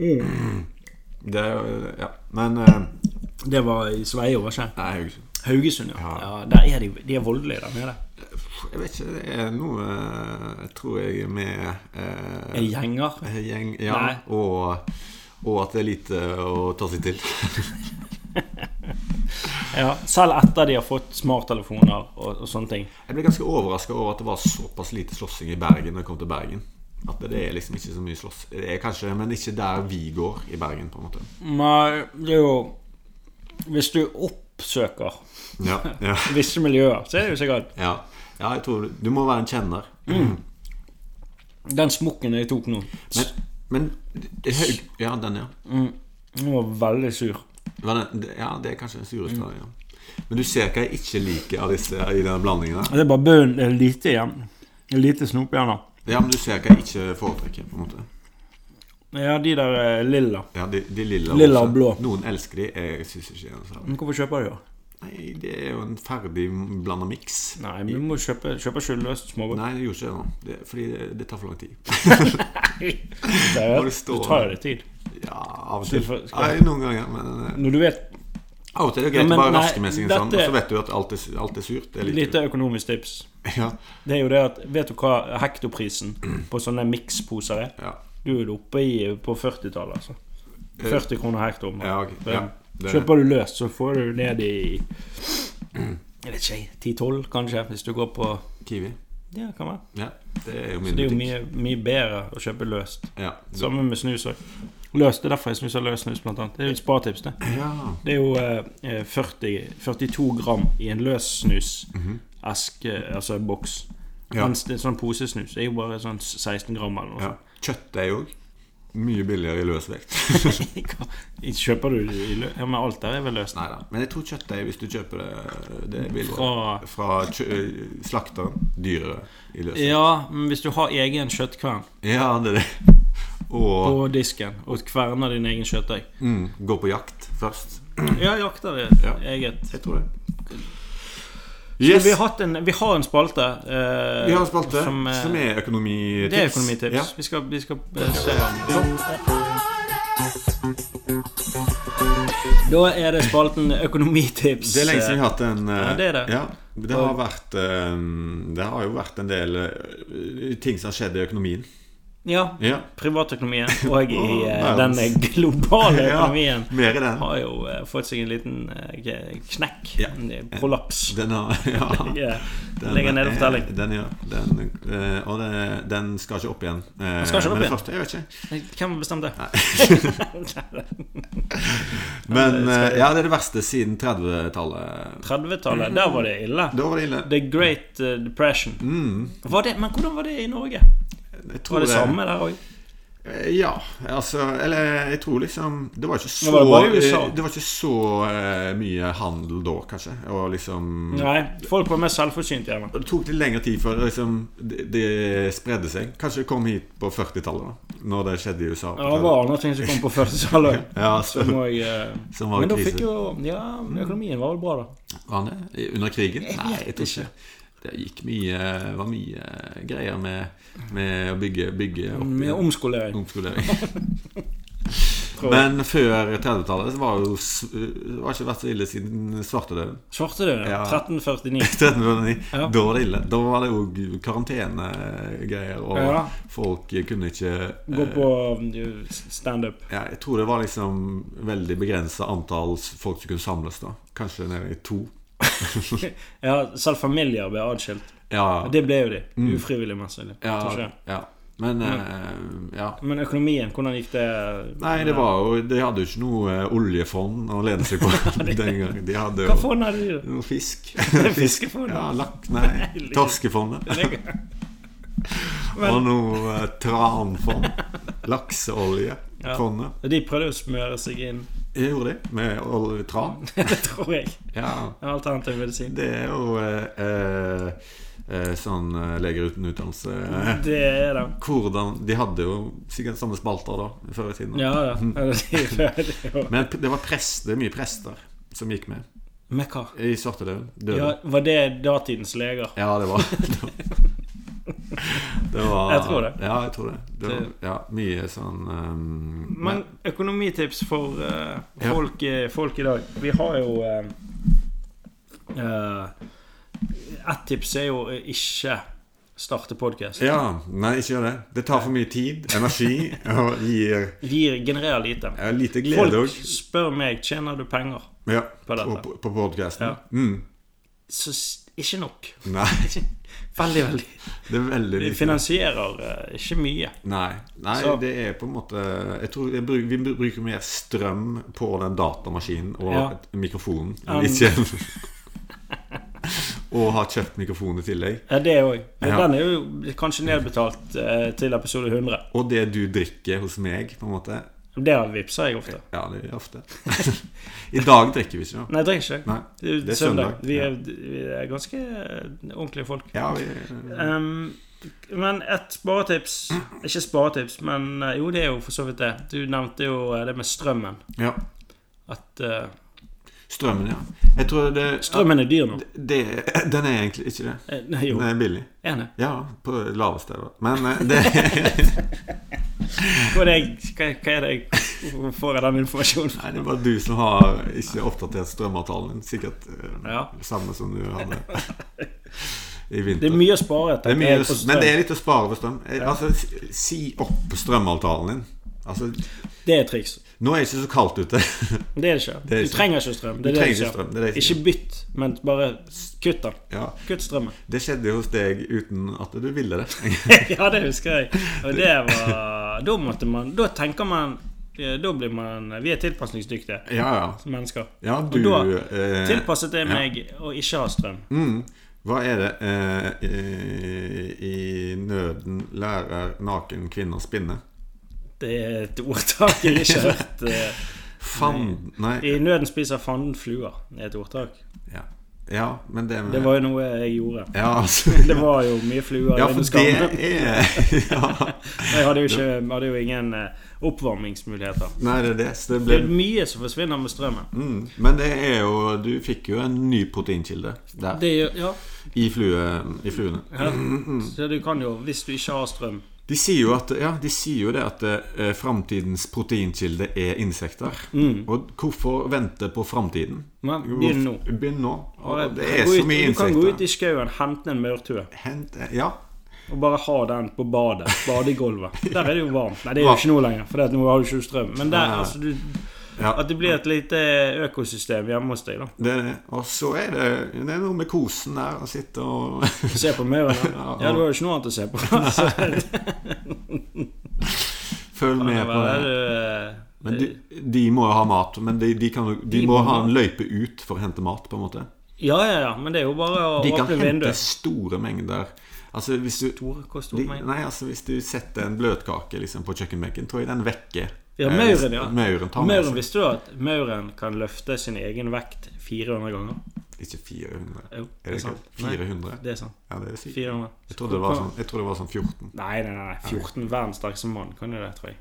Speaker 2: Det er jo Ja. Men eh,
Speaker 1: Det var i Sveio, var ikke det?
Speaker 2: Nei, jeg,
Speaker 1: Haugesund, ja.
Speaker 2: Ja.
Speaker 1: ja. Der er de, de er voldelige der nede.
Speaker 2: jeg vet ikke. Det er noe eh, Jeg tror jeg er med
Speaker 1: Er
Speaker 2: eh,
Speaker 1: de gjenger?
Speaker 2: gjeng Ja,
Speaker 1: Nei.
Speaker 2: og, og at det er lite å ta seg til.
Speaker 1: Ja, selv etter de har fått smarttelefoner og, og sånne ting.
Speaker 2: Jeg ble ganske overraska over at det var såpass lite slåssing i Bergen når jeg kom til Bergen. At det er liksom ikke så mye slåss. Det er kanskje, men ikke der vi går i Bergen, på en måte.
Speaker 1: Men det er jo Hvis du oppsøker
Speaker 2: Ja, ja,
Speaker 1: visse miljøer, så er det jo sikkert
Speaker 2: ja. ja jeg tror du, du må være en kjenner.
Speaker 1: Mm. Den smokken jeg tok nå
Speaker 2: Men, men det er høy, Ja, den, ja.
Speaker 1: mm, Den var veldig sur.
Speaker 2: Var den, det- ja, det er kanskje den sureste.
Speaker 1: Mm.
Speaker 2: Ja. Men du ser hva jeg ikke liker av disse i denne blandingen. der.
Speaker 1: Det er bare bunnen. Det er lite igjen. Det er lite snop igjen. da.
Speaker 2: Ja, men du ser hva jeg ikke foretrekker. på en måte
Speaker 1: Ja, de der eh, lilla.
Speaker 2: Ja, De, de lilla,
Speaker 1: Lilla og
Speaker 2: rosa.
Speaker 1: blå.
Speaker 2: Noen elsker de, jeg syns ikke de er noe særlig.
Speaker 1: Men hvorfor kjøper du det?
Speaker 2: Nei, det er jo en ferdig blanda miks.
Speaker 1: Nei, men du må kjøpe, kjøpe skyldeløst smågodt.
Speaker 2: Nei, det gjorde ikke det nå. Det, fordi det, det tar for lang tid.
Speaker 1: Det
Speaker 2: Når
Speaker 1: er-
Speaker 2: det
Speaker 1: det
Speaker 2: står-
Speaker 1: tar jo litt tid.
Speaker 2: Ja, av og til.
Speaker 1: Skal- skal-
Speaker 2: Nei, noen ganger, men eh,
Speaker 1: Når du vet
Speaker 2: Av og til er det
Speaker 1: Ja,
Speaker 2: greit
Speaker 1: men
Speaker 2: å bare
Speaker 1: nei,
Speaker 2: raske med seg en
Speaker 1: dette-
Speaker 2: sånn, og så vet du at alt er, su- alt er surt. Det er litt,
Speaker 1: Lite økonomisk tips.
Speaker 2: [LAUGHS] Ja,
Speaker 1: Det er jo det at Vet du hva hektoprisen på sånne miksposer er?
Speaker 2: ja.
Speaker 1: Du er oppe i på 40-tallet, altså. 40 kroner hekto.
Speaker 2: ja, ok, ja det,
Speaker 1: Kjøper du løst, så får du ned i Jeg vet ikke, 10-12 kanskje, hvis du går på
Speaker 2: Kiwi.
Speaker 1: Ja, det kan være.
Speaker 2: Ja, det er jo
Speaker 1: Så
Speaker 2: min
Speaker 1: det er jo
Speaker 2: butikk.
Speaker 1: mye, mye bedre å kjøpe løst.
Speaker 2: Ja, du,
Speaker 1: Samme med snus òg. Løst. Det er derfor jeg snuser løs snus, blant annet. Det er jo et sparetips, det.
Speaker 2: ja.
Speaker 1: Det er jo eh, 40, 42 gram i en løs snus.
Speaker 2: mhm,
Speaker 1: Eske, altså en boks.
Speaker 2: Ja.
Speaker 1: Mens det er sånn posesnus er jo bare sånn 16 gram eller noe
Speaker 2: ja.
Speaker 1: sånt. [LAUGHS]
Speaker 2: Kjøtt er jo mye billigere i løsvekt.
Speaker 1: Kjøper du det i lø... Ja, men alt der er vel løst?
Speaker 2: Nei da. Men jeg tror kjøttdeig, hvis du kjøper det, det er billigere.
Speaker 1: Fra
Speaker 2: Fra kjø eh, slakteren. Dyrere i løsvekt.
Speaker 1: Ja, men hvis du har egen kjøttkvern
Speaker 2: Ja, det er det.
Speaker 1: på
Speaker 2: Og
Speaker 1: disken, og kverner din egen kjøttdeig
Speaker 2: mm, gå på jakt først.
Speaker 1: Ja, jakter er
Speaker 2: Mm. Ja.
Speaker 1: eget.
Speaker 2: Jeg tror det.
Speaker 1: Så
Speaker 2: Yes.
Speaker 1: vi, har hatt en, vi har en spalte. eh,
Speaker 2: Vi har en spalte som,
Speaker 1: Som, eh,
Speaker 2: er økonomitips.
Speaker 1: det er økonomitips.
Speaker 2: Ja.
Speaker 1: Vi skal, vi skal eh, se Da er det spalten Økonomitips.
Speaker 2: Det er lenge siden vi har hatt en eh,
Speaker 1: Ja, det er det.
Speaker 2: Ja, det, har vært, eh, det har jo vært en del eh, ting som har skjedd i økonomien.
Speaker 1: eh, Ja.
Speaker 2: Ja.
Speaker 1: Privatøkonomien og i eh,
Speaker 2: Åh,
Speaker 1: den
Speaker 2: verdens.
Speaker 1: globale
Speaker 2: Ja,
Speaker 1: økonomien
Speaker 2: Mer i den.
Speaker 1: har jo eh, fått seg en liten eh, k- knekk.
Speaker 2: Ja.
Speaker 1: En Prolaps.
Speaker 2: Den har [LAUGHS] ja,
Speaker 1: [LAUGHS] Ja.
Speaker 2: den
Speaker 1: Legger ned
Speaker 2: er-
Speaker 1: fortelling.
Speaker 2: Den, ja, den, eh, og det, den skal ikke opp igjen. Den
Speaker 1: skal ikke opp igjen?
Speaker 2: Første, jeg vet ikke.
Speaker 1: Nei, Hvem bestemte [LAUGHS] det?
Speaker 2: Men eh, ja, det er det verste siden 30-tallet.
Speaker 1: 30-tallet, der var det ille.
Speaker 2: Da var det ille. Mm.
Speaker 1: The Great eh, Depression. Var det, men hvordan var det i Norge?
Speaker 2: Jeg tror
Speaker 1: Var det samme der òg?
Speaker 2: Eh, Ja, altså Eller jeg tror liksom Det var ikke så
Speaker 1: Det var bare i USA.
Speaker 2: eh, Det var ikke så eh, mye handel da, kanskje. Og liksom
Speaker 1: Nei, folk var mer selvforsynt gjerne.
Speaker 2: Det tok litt lengre tid før liksom, det, det spredde seg. Kanskje det kom hit på 40-tallet, da når det skjedde i USA.
Speaker 1: Ja, det var andre ting som kom på første sal òg.
Speaker 2: [LAUGHS] Ja, så,
Speaker 1: Som, jeg, eh,
Speaker 2: som var
Speaker 1: men da
Speaker 2: krise.
Speaker 1: fikk jo Ja, økonomien var vel bra, da.
Speaker 2: Var han det? Under krigen?
Speaker 1: Jeg
Speaker 2: Nei,
Speaker 1: vet
Speaker 2: jeg tror
Speaker 1: ikke.
Speaker 2: ikke. Det gikk mye, var mye greier med, med å bygge, bygge opp
Speaker 1: Med
Speaker 2: igjen.
Speaker 1: omskolering.
Speaker 2: omskolering.
Speaker 1: Tror jeg.
Speaker 2: Mm. Men før 30-tallet så var det jo s- det var ikke vært så ille siden svartedauden.
Speaker 1: Svartedauden.
Speaker 2: Ja.
Speaker 1: 1349.
Speaker 2: 1309. [LAUGHS]
Speaker 1: Ja.
Speaker 2: Da var det ille. Da var det jo karantenegreier, og
Speaker 1: Ja.
Speaker 2: folk kunne ikke eh,
Speaker 1: Gå på eh,
Speaker 2: [LAUGHS]
Speaker 1: standup.
Speaker 2: ja, Jeg tror det var liksom veldig begrensa antall s- folk som kunne samles, da. Kanskje nede i to.
Speaker 1: Ja, selv familier ble adskilt.
Speaker 2: Ja. Mm.
Speaker 1: Det ble jo de. Ufrivillig, mest sannsynlig. Tror ikke.
Speaker 2: ja, ja. Men eh, ja.
Speaker 1: Men økonomien, hvordan gikk det?
Speaker 2: Nei, det var jo De hadde jo ikke noe eh, oljefond å lene
Speaker 1: [LAUGHS]
Speaker 2: seg på den gangen. De hadde
Speaker 1: Hva
Speaker 2: jo
Speaker 1: fond hadde
Speaker 2: [LAUGHS]
Speaker 1: de?
Speaker 2: noe
Speaker 1: [LAUGHS]
Speaker 2: fisk.
Speaker 1: Fiskefond?
Speaker 2: Ja, lakk
Speaker 1: [LAUGHS]
Speaker 2: Nei, torskefondet. Og noe eh,
Speaker 1: [LAUGHS]
Speaker 2: tranfond.
Speaker 1: Ja.
Speaker 2: Lakseoljefondet.
Speaker 1: De prøvde jo å smøre seg inn. [LAUGHS]
Speaker 2: Jeg gjorde det med olje- tran.
Speaker 1: Det tror jeg.
Speaker 2: Ja,
Speaker 1: En alternativ medisin.
Speaker 2: det er jo eh, eh, eh, sånn eh, leger uten utdannelse eh,
Speaker 1: Det er det.
Speaker 2: Hvordan De hadde jo sikkert samme spalter da, før i tiden.
Speaker 1: Ja [LAUGHS] da. Eller, det er jo-
Speaker 2: Men p- det var prest, det er mye prester som gikk med
Speaker 1: Men hva?
Speaker 2: i svartedauden. Døde.
Speaker 1: Ja, var det datidens leger?
Speaker 2: Ja, det
Speaker 1: [LAUGHS]
Speaker 2: var det var,
Speaker 1: Jeg tror det.
Speaker 2: Ja, jeg tror det. det var, ja, mye sånn ehm,
Speaker 1: Men økonomitips for eh,
Speaker 2: Ja.
Speaker 1: folk, eh, folk i dag. Vi har jo eh, eh, Ett tips er jo å ikke starte podkast.
Speaker 2: Ja, nei, ikke gjør det. Det tar for mye tid, energi, og gir
Speaker 1: Gir genererer lite.
Speaker 2: ja, lite glede
Speaker 1: Folk
Speaker 2: òg.
Speaker 1: spør meg tjener du penger.
Speaker 2: Ja,
Speaker 3: På dette.
Speaker 2: på, på, på podcasten.
Speaker 3: Ja.
Speaker 2: Mm.
Speaker 3: Så s- ikke
Speaker 1: [LAUGHS]
Speaker 3: nok.
Speaker 2: Nei,
Speaker 3: Ikke- Veldig, veldig
Speaker 2: det er veldig
Speaker 3: Vi
Speaker 2: lite.
Speaker 3: finansierer eh, ikke mye.
Speaker 2: Nei, nei
Speaker 3: Så-
Speaker 2: det er på en måte jeg tror jeg bruk, Vi bruker mer strøm på den datamaskinen og
Speaker 1: Ja.
Speaker 2: et- mikrofonen.
Speaker 1: Um.
Speaker 2: Ikke [LAUGHS] Og har kjøpt mikrofon i tillegg.
Speaker 1: Ja, det òg.
Speaker 2: Ja.
Speaker 1: Den er jo blitt kanskje nedbetalt eh, til episode 100.
Speaker 2: Og det du drikker hos meg, på en måte.
Speaker 1: Det vippser jeg ofte.
Speaker 2: Ja, det gjør jeg ofte. [LAUGHS] I dag drikker vi ikke, da.
Speaker 1: Nei, jeg drikker ikke.
Speaker 2: Nei.
Speaker 1: Det er, jo
Speaker 2: det er
Speaker 1: søndag.
Speaker 2: søndag,
Speaker 1: Vi, er, vi er ganske eh, ordentlige folk.
Speaker 2: Ja, vi,
Speaker 1: Ehm, men et sparetips Ikke sparetips, men eh, jo, det er jo for så vidt det. Du nevnte jo eh, det med strømmen.
Speaker 2: ja.
Speaker 1: At eh,
Speaker 2: Strømmen, ja. Jeg tror det,
Speaker 1: strømmen er dyr nå.
Speaker 2: det Den er egentlig ikke det.
Speaker 1: Eh, Nei, jo,
Speaker 2: Den er billig.
Speaker 1: er det?
Speaker 2: Ja, på det laveste. da. Men eh, det [LAUGHS]
Speaker 1: Hva er det jeg- hva- hva er det jeg får av den informasjonen?
Speaker 2: Nei, det er bare du som har ikke oppdatert strømavtalen din. Sikkert eh,
Speaker 1: Ja.
Speaker 2: samme som du
Speaker 1: [LAUGHS]
Speaker 2: hadde i
Speaker 1: Det er
Speaker 2: vinter.
Speaker 1: mye å spare etter.
Speaker 2: Det er mye,
Speaker 1: på strøm.
Speaker 2: men det er litt å spare på strøm. Eh, Altså, si- si opp strømavtalen din. Altså,
Speaker 1: Det er et triks.
Speaker 2: nå er det ikke så kaldt ute.
Speaker 1: Det er det ikke.
Speaker 2: Det
Speaker 1: Du
Speaker 2: er ikke.
Speaker 1: trenger ikke strøm.
Speaker 2: Du
Speaker 1: Det er det
Speaker 2: trenger
Speaker 1: du
Speaker 2: ikke
Speaker 1: sier.
Speaker 2: strøm. Det er det jeg
Speaker 1: Ikke
Speaker 2: sier.
Speaker 1: bytt, men bare s- kutt den.
Speaker 2: Ja,
Speaker 1: Kutt
Speaker 2: [LAUGHS]
Speaker 1: strømmen.
Speaker 2: det skjedde jo hos deg uten at du ville
Speaker 1: [LAUGHS]
Speaker 2: det.
Speaker 1: ja, det husker jeg. Og det var Da måtte man Da tenker man eh, Da blir man Vi er tilpasningsdyktige
Speaker 2: Ja, ja.
Speaker 1: som mennesker.
Speaker 2: ja du
Speaker 1: da
Speaker 2: eh,
Speaker 1: Tilpasset er
Speaker 2: ja.
Speaker 1: meg å ikke ha strøm.
Speaker 2: Mm. Hva er det eh, eh, i nøden lærer naken kvinne å spinne?
Speaker 1: Det er et ordtak jeg ikke har hørt. eh.
Speaker 2: Fanden Nei.
Speaker 1: I nøden spiser fanden fluer. Det er et ordtak.
Speaker 2: Ja, ja men det med
Speaker 1: Det var jo noe jeg gjorde.
Speaker 2: Ja, altså
Speaker 1: [LAUGHS] Det var jo mye fluer i
Speaker 2: Ja,
Speaker 1: den
Speaker 2: for det
Speaker 1: skallen.
Speaker 2: er [LAUGHS] ja.
Speaker 1: Jeg hadde jo, ikke, hadde jo ingen eh, oppvarmingsmuligheter.
Speaker 2: Nei, det er det. Så det
Speaker 1: Det
Speaker 2: ble
Speaker 1: er mye som forsvinner med strømmen.
Speaker 2: mm. Men det er jo Du fikk jo en ny proteinkilde der.
Speaker 1: Det, gjør- ja,
Speaker 2: I, flue, I fluene.
Speaker 1: ja. Så du kan jo, hvis du ikke har strøm
Speaker 2: De sier jo, at, ja, de sier jo det at eh, framtidens proteinkilde er insekter. Og hvorfor vente på framtiden?
Speaker 1: Men Mm. begynn nå.
Speaker 2: Begynn nå. Og det er
Speaker 1: Gå
Speaker 2: så
Speaker 1: ut-
Speaker 2: mye
Speaker 1: Du kan gå ut
Speaker 2: insekter.
Speaker 1: i skauen, hente en maurtue
Speaker 2: Hent, ja,
Speaker 1: og bare ha den på badet.
Speaker 2: [LAUGHS]
Speaker 1: Badegulvet. Der er det jo varmt. Nei, det er jo ikke noe lenger, for nå har du ikke strøm. Men der,
Speaker 2: Nei, nei.
Speaker 1: altså, du,
Speaker 2: ja.
Speaker 1: at det blir et lite eh, økosystem hjemme hos
Speaker 2: [LAUGHS]
Speaker 1: deg, da.
Speaker 2: Det er det. Og så er det, det er noe med kosen der. Å sitte og [LAUGHS]
Speaker 1: Se på maurene.
Speaker 2: Ja,
Speaker 1: Ja, du har jo ikke noe annet å
Speaker 2: [LAUGHS]
Speaker 1: se på. Så
Speaker 2: følge
Speaker 1: det
Speaker 2: med på
Speaker 1: er,
Speaker 2: det.
Speaker 1: eh,
Speaker 2: Men de, de må jo ha mat. Men de, de, kan, jo- de
Speaker 1: De
Speaker 2: må
Speaker 1: må
Speaker 2: ha
Speaker 1: ha-
Speaker 2: en løype ut for å hente mat, på en måte.
Speaker 1: ja, ja, ja, men det er jo bare å
Speaker 2: De kan
Speaker 1: åpne
Speaker 2: hente
Speaker 1: vinduet.
Speaker 2: store mengder. Altså hvis du
Speaker 1: Hvor, hvor stor
Speaker 2: de,
Speaker 1: mengde?
Speaker 2: Nei, altså hvis du setter en bløtkake liksom, på kjøkkenbenken, tror jeg den vekker
Speaker 1: Ja,
Speaker 2: eh,
Speaker 1: mauren,
Speaker 2: hvis-
Speaker 1: ja.
Speaker 2: Mauren tar med
Speaker 1: Mauren,
Speaker 2: seg.
Speaker 1: visste du at mauren kan løfte sin egen vekt 400 ganger?
Speaker 2: Ikke 400.
Speaker 1: Jo,
Speaker 2: Er det ikke
Speaker 1: sant. Nei,
Speaker 2: 400?
Speaker 1: det er sant.
Speaker 2: Ja, det er sykt.
Speaker 1: 400.
Speaker 2: Jeg trodde det var sånn, jeg trodde det var sånn 14.
Speaker 1: Nei, nei, nei. 14 verdens sterkeste mann. Kan du det, tror jeg?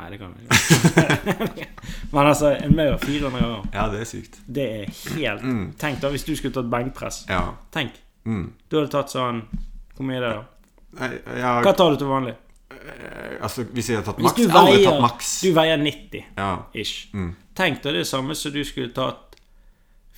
Speaker 1: Nei, det kan du ikke.
Speaker 2: [LAUGHS]
Speaker 1: Men altså, en maur 400 ganger,
Speaker 2: Ja, det er sykt.
Speaker 1: det er helt
Speaker 2: Mm.
Speaker 1: Tenk da hvis du skulle tatt benkpress.
Speaker 2: Ja.
Speaker 1: Tenk.
Speaker 2: Mm.
Speaker 1: Du hadde tatt sånn Hvor mye er det, da?
Speaker 2: Nei, ja,
Speaker 1: Hva tar du til vanlig?
Speaker 2: eh, altså, hvis jeg har tatt
Speaker 1: Hvis
Speaker 2: maks
Speaker 1: du
Speaker 2: Jeg har Aldri
Speaker 1: veier-
Speaker 2: tatt maks.
Speaker 1: Du veier 90
Speaker 2: Ja.
Speaker 1: ish.
Speaker 2: Mm.
Speaker 1: Tenk da det samme som du skulle tatt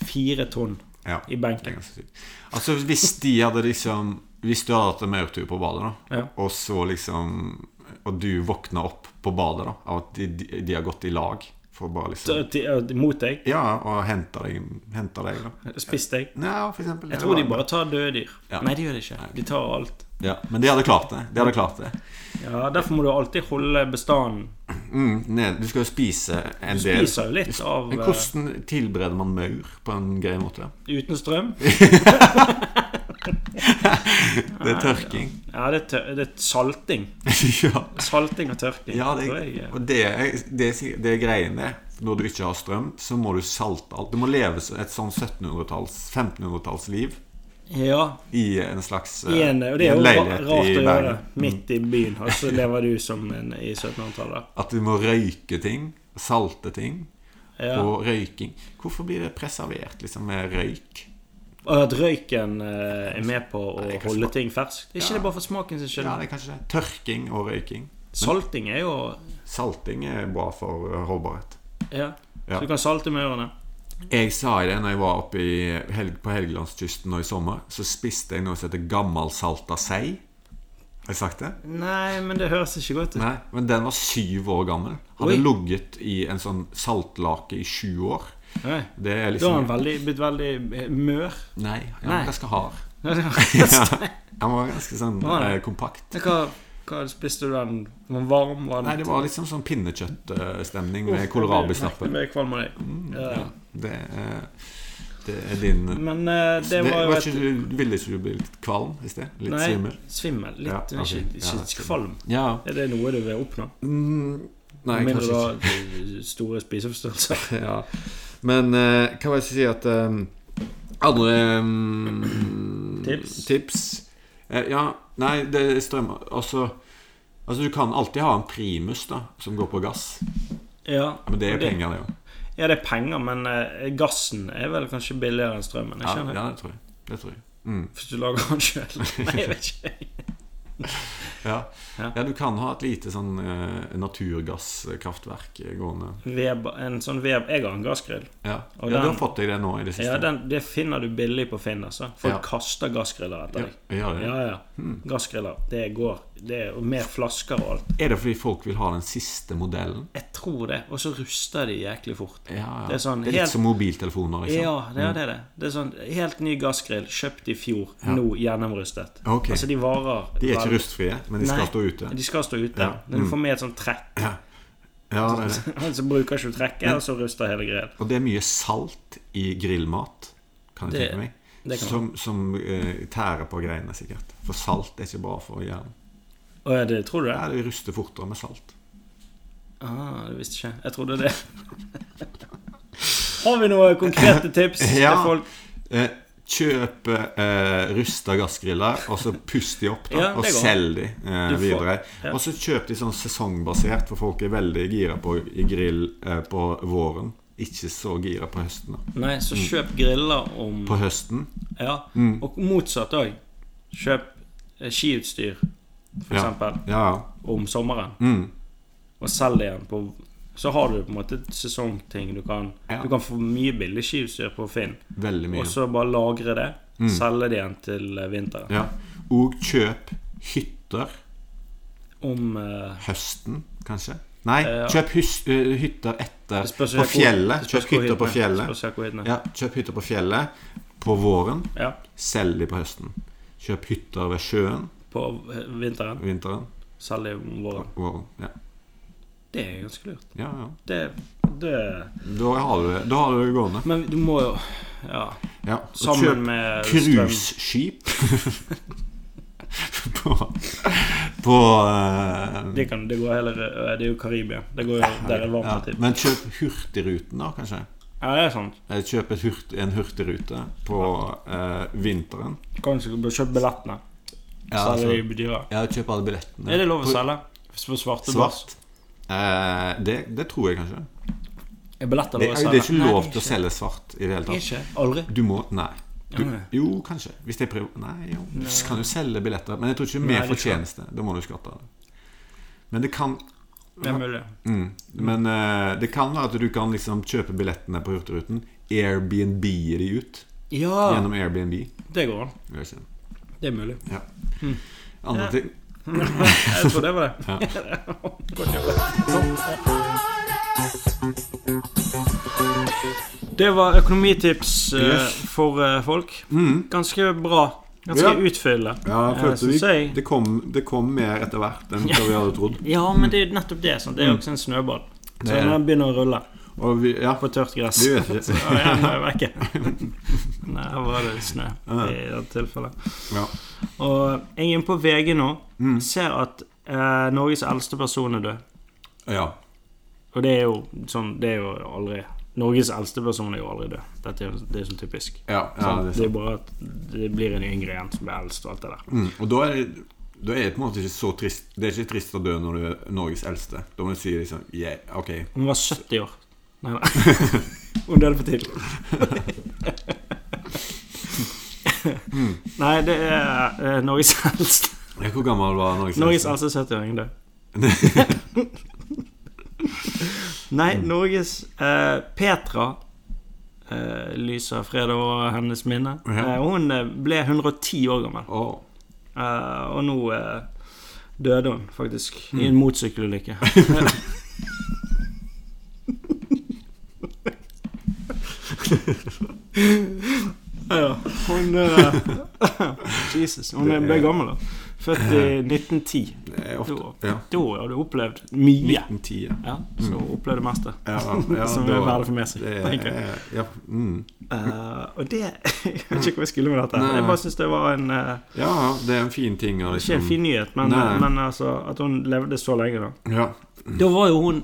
Speaker 1: fire tonn
Speaker 2: ja.
Speaker 1: i
Speaker 2: Det er
Speaker 1: benken.
Speaker 2: ganske sykt. Altså, hvis de hadde liksom Hvis du hadde hatt en maurtue på badet, da,
Speaker 1: Ja.
Speaker 2: og så liksom Og du våkna opp på badet da av at de, de, de har gått i lag for å bare liksom
Speaker 1: Så, til- ja, Mot deg.
Speaker 2: Ja, og henta deg, henta deg, da.
Speaker 1: Spist deg.
Speaker 2: Ja, for eksempel.
Speaker 1: Jeg tror de bare tar døde dyr.
Speaker 2: Ja.
Speaker 1: Nei, de gjør det ikke. De tar alt.
Speaker 2: ja, Men de hadde klart det. De hadde klart det.
Speaker 1: Ja, Derfor må du alltid holde bestanden
Speaker 2: Mm, ned. Du skal jo spise en
Speaker 1: Du
Speaker 2: del.
Speaker 1: spiser jo litt av
Speaker 2: Men
Speaker 1: eh,
Speaker 2: hvordan tilbereder man maur på en grei måte?
Speaker 1: uten strøm.
Speaker 2: [LAUGHS] Det er tørking. [LAUGHS]
Speaker 1: Ja, det er, tør, det er salting.
Speaker 2: ja.
Speaker 1: Salting og tørking.
Speaker 2: Ja,
Speaker 1: tror
Speaker 2: det,
Speaker 1: jeg.
Speaker 2: og det, er- det, er si- det er greien det. Når du ikke har strøm, så må du salte alt. Du må leve så- et sånn 1700-talls, 1500-tallsliv
Speaker 1: ja
Speaker 2: i en slags eh,
Speaker 1: i en, og det er
Speaker 2: i
Speaker 1: jo
Speaker 2: en
Speaker 1: ra-
Speaker 2: leilighet
Speaker 1: rart å
Speaker 2: i
Speaker 1: gjøre det
Speaker 2: Bergen.
Speaker 1: midt i byen, og så lever du som en i 1700-tallet.
Speaker 2: At du må røyke ting, salte ting,
Speaker 1: Ja.
Speaker 2: og røyking. Hvorfor blir det preservert liksom med røyk?
Speaker 1: Og at røyken eh, er med på å
Speaker 2: Nei, kanskje
Speaker 1: holde
Speaker 2: smak-
Speaker 1: ting ferskt. Er ikke
Speaker 2: Ja.
Speaker 1: det bare for smaken sin skyld?
Speaker 2: Ja, det er kanskje det. Tørking og røyking.
Speaker 1: Salting er jo
Speaker 2: Salting er bra for eh, holdbarhet.
Speaker 1: ja.
Speaker 2: Ja.
Speaker 1: Så du kan salte maurene.
Speaker 2: Jeg sa i det når jeg var oppe i helg, på Helgelandskysten nå i sommer, så spiste jeg noe som heter gammelsalta sei. Har jeg sagt det?
Speaker 1: Nei, men det høres ikke godt ut.
Speaker 2: Nei, men den var syv år gammel. Hadde
Speaker 1: Oi.
Speaker 2: ligget i en sånn saltlake i sju år.
Speaker 4: Nei.
Speaker 2: Det
Speaker 4: Da
Speaker 2: er
Speaker 4: har han
Speaker 2: liksom
Speaker 4: veldig, blitt
Speaker 1: eh,
Speaker 4: veldig
Speaker 2: [LAUGHS]
Speaker 4: mør.
Speaker 2: Nei, han
Speaker 4: Nei.
Speaker 2: var ganske hard.
Speaker 4: Ja.
Speaker 2: Ja,
Speaker 1: [LAUGHS]
Speaker 2: han var ganske sånn
Speaker 4: Var det?
Speaker 2: eh, kompakt.
Speaker 1: Hva, hva spiste du den? Den var varm? Var den
Speaker 2: Nei, det var liksom sånn pinnekjøttstemning med
Speaker 1: Nei,
Speaker 2: kålrabisnappe.
Speaker 1: det ble kvalm av deg.
Speaker 2: Mm,
Speaker 1: Ja.
Speaker 2: ja. Det, er- det er din
Speaker 1: Men eh, det
Speaker 2: det,
Speaker 1: var jo et
Speaker 2: ikke, du, Ville ikke du bli litt kvalm i sted? Litt
Speaker 1: Nei,
Speaker 2: svimmel?
Speaker 1: Svimmel. Litt,
Speaker 2: Ja,
Speaker 1: men
Speaker 2: ok.
Speaker 1: ikke, ikke
Speaker 2: Ja, svimmel.
Speaker 1: kvalm.
Speaker 2: Ja.
Speaker 1: Er det noe du vil oppnå?
Speaker 2: Mm, nei,
Speaker 1: Med mindre du har
Speaker 2: kanskje ikke.
Speaker 1: eh, store spiseforstyrrelser.
Speaker 2: [LAUGHS] Ja. Men eh, hva var det jeg skulle si at eh, Andre eh,
Speaker 1: Tips?
Speaker 2: tips. Eh, ja, nei, det er strøm Altså, altså, du kan alltid ha en primus da som går på gass.
Speaker 1: Ja,
Speaker 2: Men det er
Speaker 1: og det-
Speaker 2: penger, det òg.
Speaker 1: ja, det er penger, men eh, gassen er vel kanskje billigere enn strømmen?
Speaker 2: Ja,
Speaker 1: Jeg skjønner.
Speaker 2: ja, det tror jeg. Det tror jeg. Mm.
Speaker 1: Hvis du lager den
Speaker 2: [LAUGHS]
Speaker 1: sjøl. Nei, jeg vet ikke.
Speaker 2: Ja.
Speaker 1: Ja.
Speaker 2: ja, du kan ha et lite sånn eh, naturgasskraftverk eh, gående.
Speaker 1: Weber, en sånn Weber Jeg har en gassgrill.
Speaker 2: Ja. ja,
Speaker 1: Og
Speaker 2: du
Speaker 1: den-
Speaker 2: har fått deg det nå i det siste.
Speaker 1: Ja, den, det finner du billig på Finn. altså Folk
Speaker 2: Ja.
Speaker 1: kaster gassgriller etter
Speaker 2: Ja, Hmm.
Speaker 1: deg.
Speaker 2: gjør det.
Speaker 1: Ja, ja. Gassgriller. Det går. Det er og mer flasker og alt.
Speaker 2: Er det fordi folk vil ha den siste modellen?
Speaker 1: Jeg tror det. Og så ruster de jæklig fort.
Speaker 2: Ja, ja.
Speaker 1: Det er sånn
Speaker 2: litt
Speaker 1: helt-
Speaker 2: som mobiltelefoner, liksom.
Speaker 1: Ja, det er det. det. Det er sånn Helt ny gassgrill, kjøpt i fjor, nå gjennomrustet.
Speaker 2: Ok.
Speaker 1: Altså, de varer
Speaker 2: De er ikke
Speaker 1: vel-
Speaker 2: rustfrie, men de
Speaker 1: Nei,
Speaker 2: skal stå ute.
Speaker 1: De skal stå ute.
Speaker 2: Ja. Hmm.
Speaker 1: Men du får med et sånt trekk.
Speaker 2: Ja,
Speaker 1: [LAUGHS]
Speaker 2: det er det.
Speaker 1: så bruker ikke du trekket, og så ruster hele greien.
Speaker 2: Og det er mye salt i grillmat, kan jeg
Speaker 1: Det-
Speaker 2: tenke meg.
Speaker 1: det kan
Speaker 2: som som eh, tærer på greiene, sikkert. For salt er ikke bra for hjernen.
Speaker 1: Å ja, det tror du det?
Speaker 2: Ja, det ruster fortere med salt.
Speaker 1: Ah, det visste ikke jeg. Jeg trodde det. [LAUGHS] Har vi noen konkrete tips
Speaker 2: [LAUGHS] Ja.
Speaker 1: til folk?
Speaker 2: Eh, kjøp eh, rusta gassgriller, og så pust de opp, da.
Speaker 1: Ja, det
Speaker 2: og
Speaker 1: går.
Speaker 2: selg de eh,
Speaker 1: Du får-
Speaker 2: videre.
Speaker 1: ja.
Speaker 2: Og så kjøp de sånn sesongbasert, for folk er veldig gira på i grill eh, på våren. Ikke så gira på høsten. Da.
Speaker 1: Nei, så kjøp griller om
Speaker 2: Mm. På Mm. høsten
Speaker 1: Ja, og motsatt òg. Kjøp eh, skiutstyr, for
Speaker 2: Ja.
Speaker 1: eksempel,
Speaker 2: Ja, ja.
Speaker 1: om sommeren,
Speaker 2: Mm.
Speaker 1: og selg det igjen på så har du på en måte et sesongting du kan
Speaker 2: Ja.
Speaker 1: Du kan få mye billig skiutstyr på Finn,
Speaker 2: Veldig mye. Mm.
Speaker 1: og så bare lagre det. Selge det igjen til eh, vinteren.
Speaker 2: Ja. Og kjøp hytter
Speaker 1: Om eh,
Speaker 2: høsten, kanskje. Nei,
Speaker 1: Eh, ja.
Speaker 2: kjøp hus, eh, hytter etter
Speaker 1: det spørs
Speaker 2: På
Speaker 1: hvor-
Speaker 2: fjellet.
Speaker 1: det spørs
Speaker 2: Kjøp
Speaker 1: hvor
Speaker 2: hytter på
Speaker 1: hyttene- det
Speaker 2: fjellet.
Speaker 1: spørs hvor hyttene-
Speaker 2: Ja, kjøp hytter på fjellet på våren.
Speaker 1: Ja,
Speaker 2: Selg de på høsten. Kjøp hytter ved sjøen
Speaker 1: på eh, vinteren.
Speaker 2: vinteren.
Speaker 1: Selge om våren.
Speaker 2: Våren. Ja.
Speaker 1: Det er ganske lurt.
Speaker 2: Ja, ja.
Speaker 1: Det, det
Speaker 2: Da har du det Da har du det gående.
Speaker 1: Men du må jo Ja.
Speaker 2: Ja. og
Speaker 1: Sammen
Speaker 2: kjøp
Speaker 1: med strøm.
Speaker 2: cruiseskip [LAUGHS] på, på eh,
Speaker 1: Det, kan, det går hele Det er jo Karibia. Det går jo der det er varmt.
Speaker 2: ja.
Speaker 1: alltid.
Speaker 2: Men kjøp Hurtigruten, da, kanskje.
Speaker 1: Ja, det er sant.
Speaker 2: Eh, Kjøp et hurt, en hurtigrute på eh, vinteren.
Speaker 1: Du kan jo kjøpe billettene.
Speaker 2: Ja,
Speaker 1: Selge
Speaker 2: altså,
Speaker 1: de dyrere.
Speaker 2: ja, kjøp alle billettene.
Speaker 1: Er det lov å
Speaker 2: På-
Speaker 1: selge? For svarte børs?
Speaker 2: Svart? Eh, det, det tror jeg kanskje.
Speaker 1: Er billetter
Speaker 2: Det,
Speaker 1: lov å
Speaker 2: det
Speaker 1: selge?
Speaker 2: er ikke
Speaker 1: Nei,
Speaker 2: lov
Speaker 1: det
Speaker 2: til å
Speaker 1: er
Speaker 2: selge svart i det hele
Speaker 1: ikke.
Speaker 2: tatt.
Speaker 1: Ikke. Aldri.
Speaker 2: Du må Nei. Du,
Speaker 1: Ja.
Speaker 2: jo, kanskje. Hvis det er privat Nei, jo. Du kan jo selge billetter. Men jeg tror ikke
Speaker 1: Nei,
Speaker 2: mer
Speaker 1: det er
Speaker 2: fortjeneste. Da må du skatte av det. Men det kan
Speaker 1: Det er mulig.
Speaker 2: mm, Men eh, det kan være at du kan liksom kjøpe billettene på Hurtigruten. Airbnb-e de ut
Speaker 1: Ja,
Speaker 2: gjennom Airbnb.
Speaker 1: det går an.
Speaker 2: Jeg vet ikke.
Speaker 1: Det er
Speaker 2: [LAUGHS]
Speaker 1: mulig.
Speaker 2: Ja. Andre ting
Speaker 1: Jeg tror det var det. [LAUGHS] Det var økonomitips eh,
Speaker 2: Yes.
Speaker 1: for eh, folk. Ganske bra. Ganske
Speaker 2: Ja.
Speaker 1: utfyllende.
Speaker 2: Mm. Ja, jeg
Speaker 1: eh,
Speaker 2: følte vi,
Speaker 1: synes jeg.
Speaker 2: det, kom, det kom mer etter hvert enn hva vi hadde trodd.
Speaker 1: Ja, men det er jo nettopp det. Sant? Det er jo også en snøball. Så
Speaker 2: er Mm. det.
Speaker 1: den begynner å rulle
Speaker 2: Og vi, ja,
Speaker 1: på tørt gress. [LAUGHS]
Speaker 2: vi vet ikke.
Speaker 1: Ja, ja, nå er jeg vekke. [LAUGHS] Nei, her var det snø i det tilfellet.
Speaker 2: Ja.
Speaker 1: Og jeg er inne på VG nå.
Speaker 2: Mm.
Speaker 1: Ser at eh, Norges eldste person er død.
Speaker 2: ja.
Speaker 1: Og det er jo sånn Det er jo aldri Norges eldste person er jo aldri død. Dette er, det er sånn typisk.
Speaker 2: Ja, ja,
Speaker 1: sant?
Speaker 2: det er
Speaker 1: det,
Speaker 2: sant.
Speaker 1: er bare at det blir en yngre igjen som blir eldst og alt det der.
Speaker 2: Mm, og da er, det, da er det på en måte ikke så trist Det er ikke trist å dø når du er Norges eldste. Da må du si liksom yeah, Ok.
Speaker 1: Hun var 70 år. Nei, nei. [LAUGHS] Hun døde for tidlig. [LAUGHS] Nei, det er eh, Norges [LAUGHS] eldste
Speaker 2: Ja, Hvor gammel var Norges,
Speaker 1: Norges
Speaker 2: eldste?
Speaker 1: eldste 70-åring død.
Speaker 2: [LAUGHS]
Speaker 1: Nei, Norges eh, Petra eh, lyser fred over hennes minne.
Speaker 2: Ja.
Speaker 1: Eh, hun eh, ble 110 år gammel.
Speaker 2: Åh,
Speaker 1: Eh, og nå eh, døde hun faktisk i
Speaker 2: Mm.
Speaker 1: en
Speaker 2: [LAUGHS]
Speaker 1: motsykkelulykke. Ja, hun eh, [LAUGHS] Jesus. Hun
Speaker 2: Det
Speaker 1: ble
Speaker 2: er-
Speaker 1: gammel, da. Født i 1910.
Speaker 2: Det er
Speaker 1: Da,
Speaker 2: ofte Ja.
Speaker 1: da har du opplevd mye.
Speaker 2: 1910, ja.
Speaker 1: Ja, så opplevde det meste.
Speaker 2: Ja,
Speaker 1: [LAUGHS]
Speaker 2: ja,
Speaker 1: Som
Speaker 2: da-
Speaker 1: er verdt å få med seg,
Speaker 2: det
Speaker 1: tenker jeg.
Speaker 2: er- Ja. Mm.
Speaker 1: Eh, og det [LAUGHS] Jeg vet ikke hvor jeg skulle med dette.
Speaker 2: Nei.
Speaker 1: Jeg bare syns det var en eh,
Speaker 2: ja, det er en fin ting å
Speaker 1: Ikke en fin
Speaker 2: liksom
Speaker 1: nyhet, men,
Speaker 2: Nei.
Speaker 1: men altså, at hun levde så lenge, da.
Speaker 2: Ja.
Speaker 1: Da var jo hun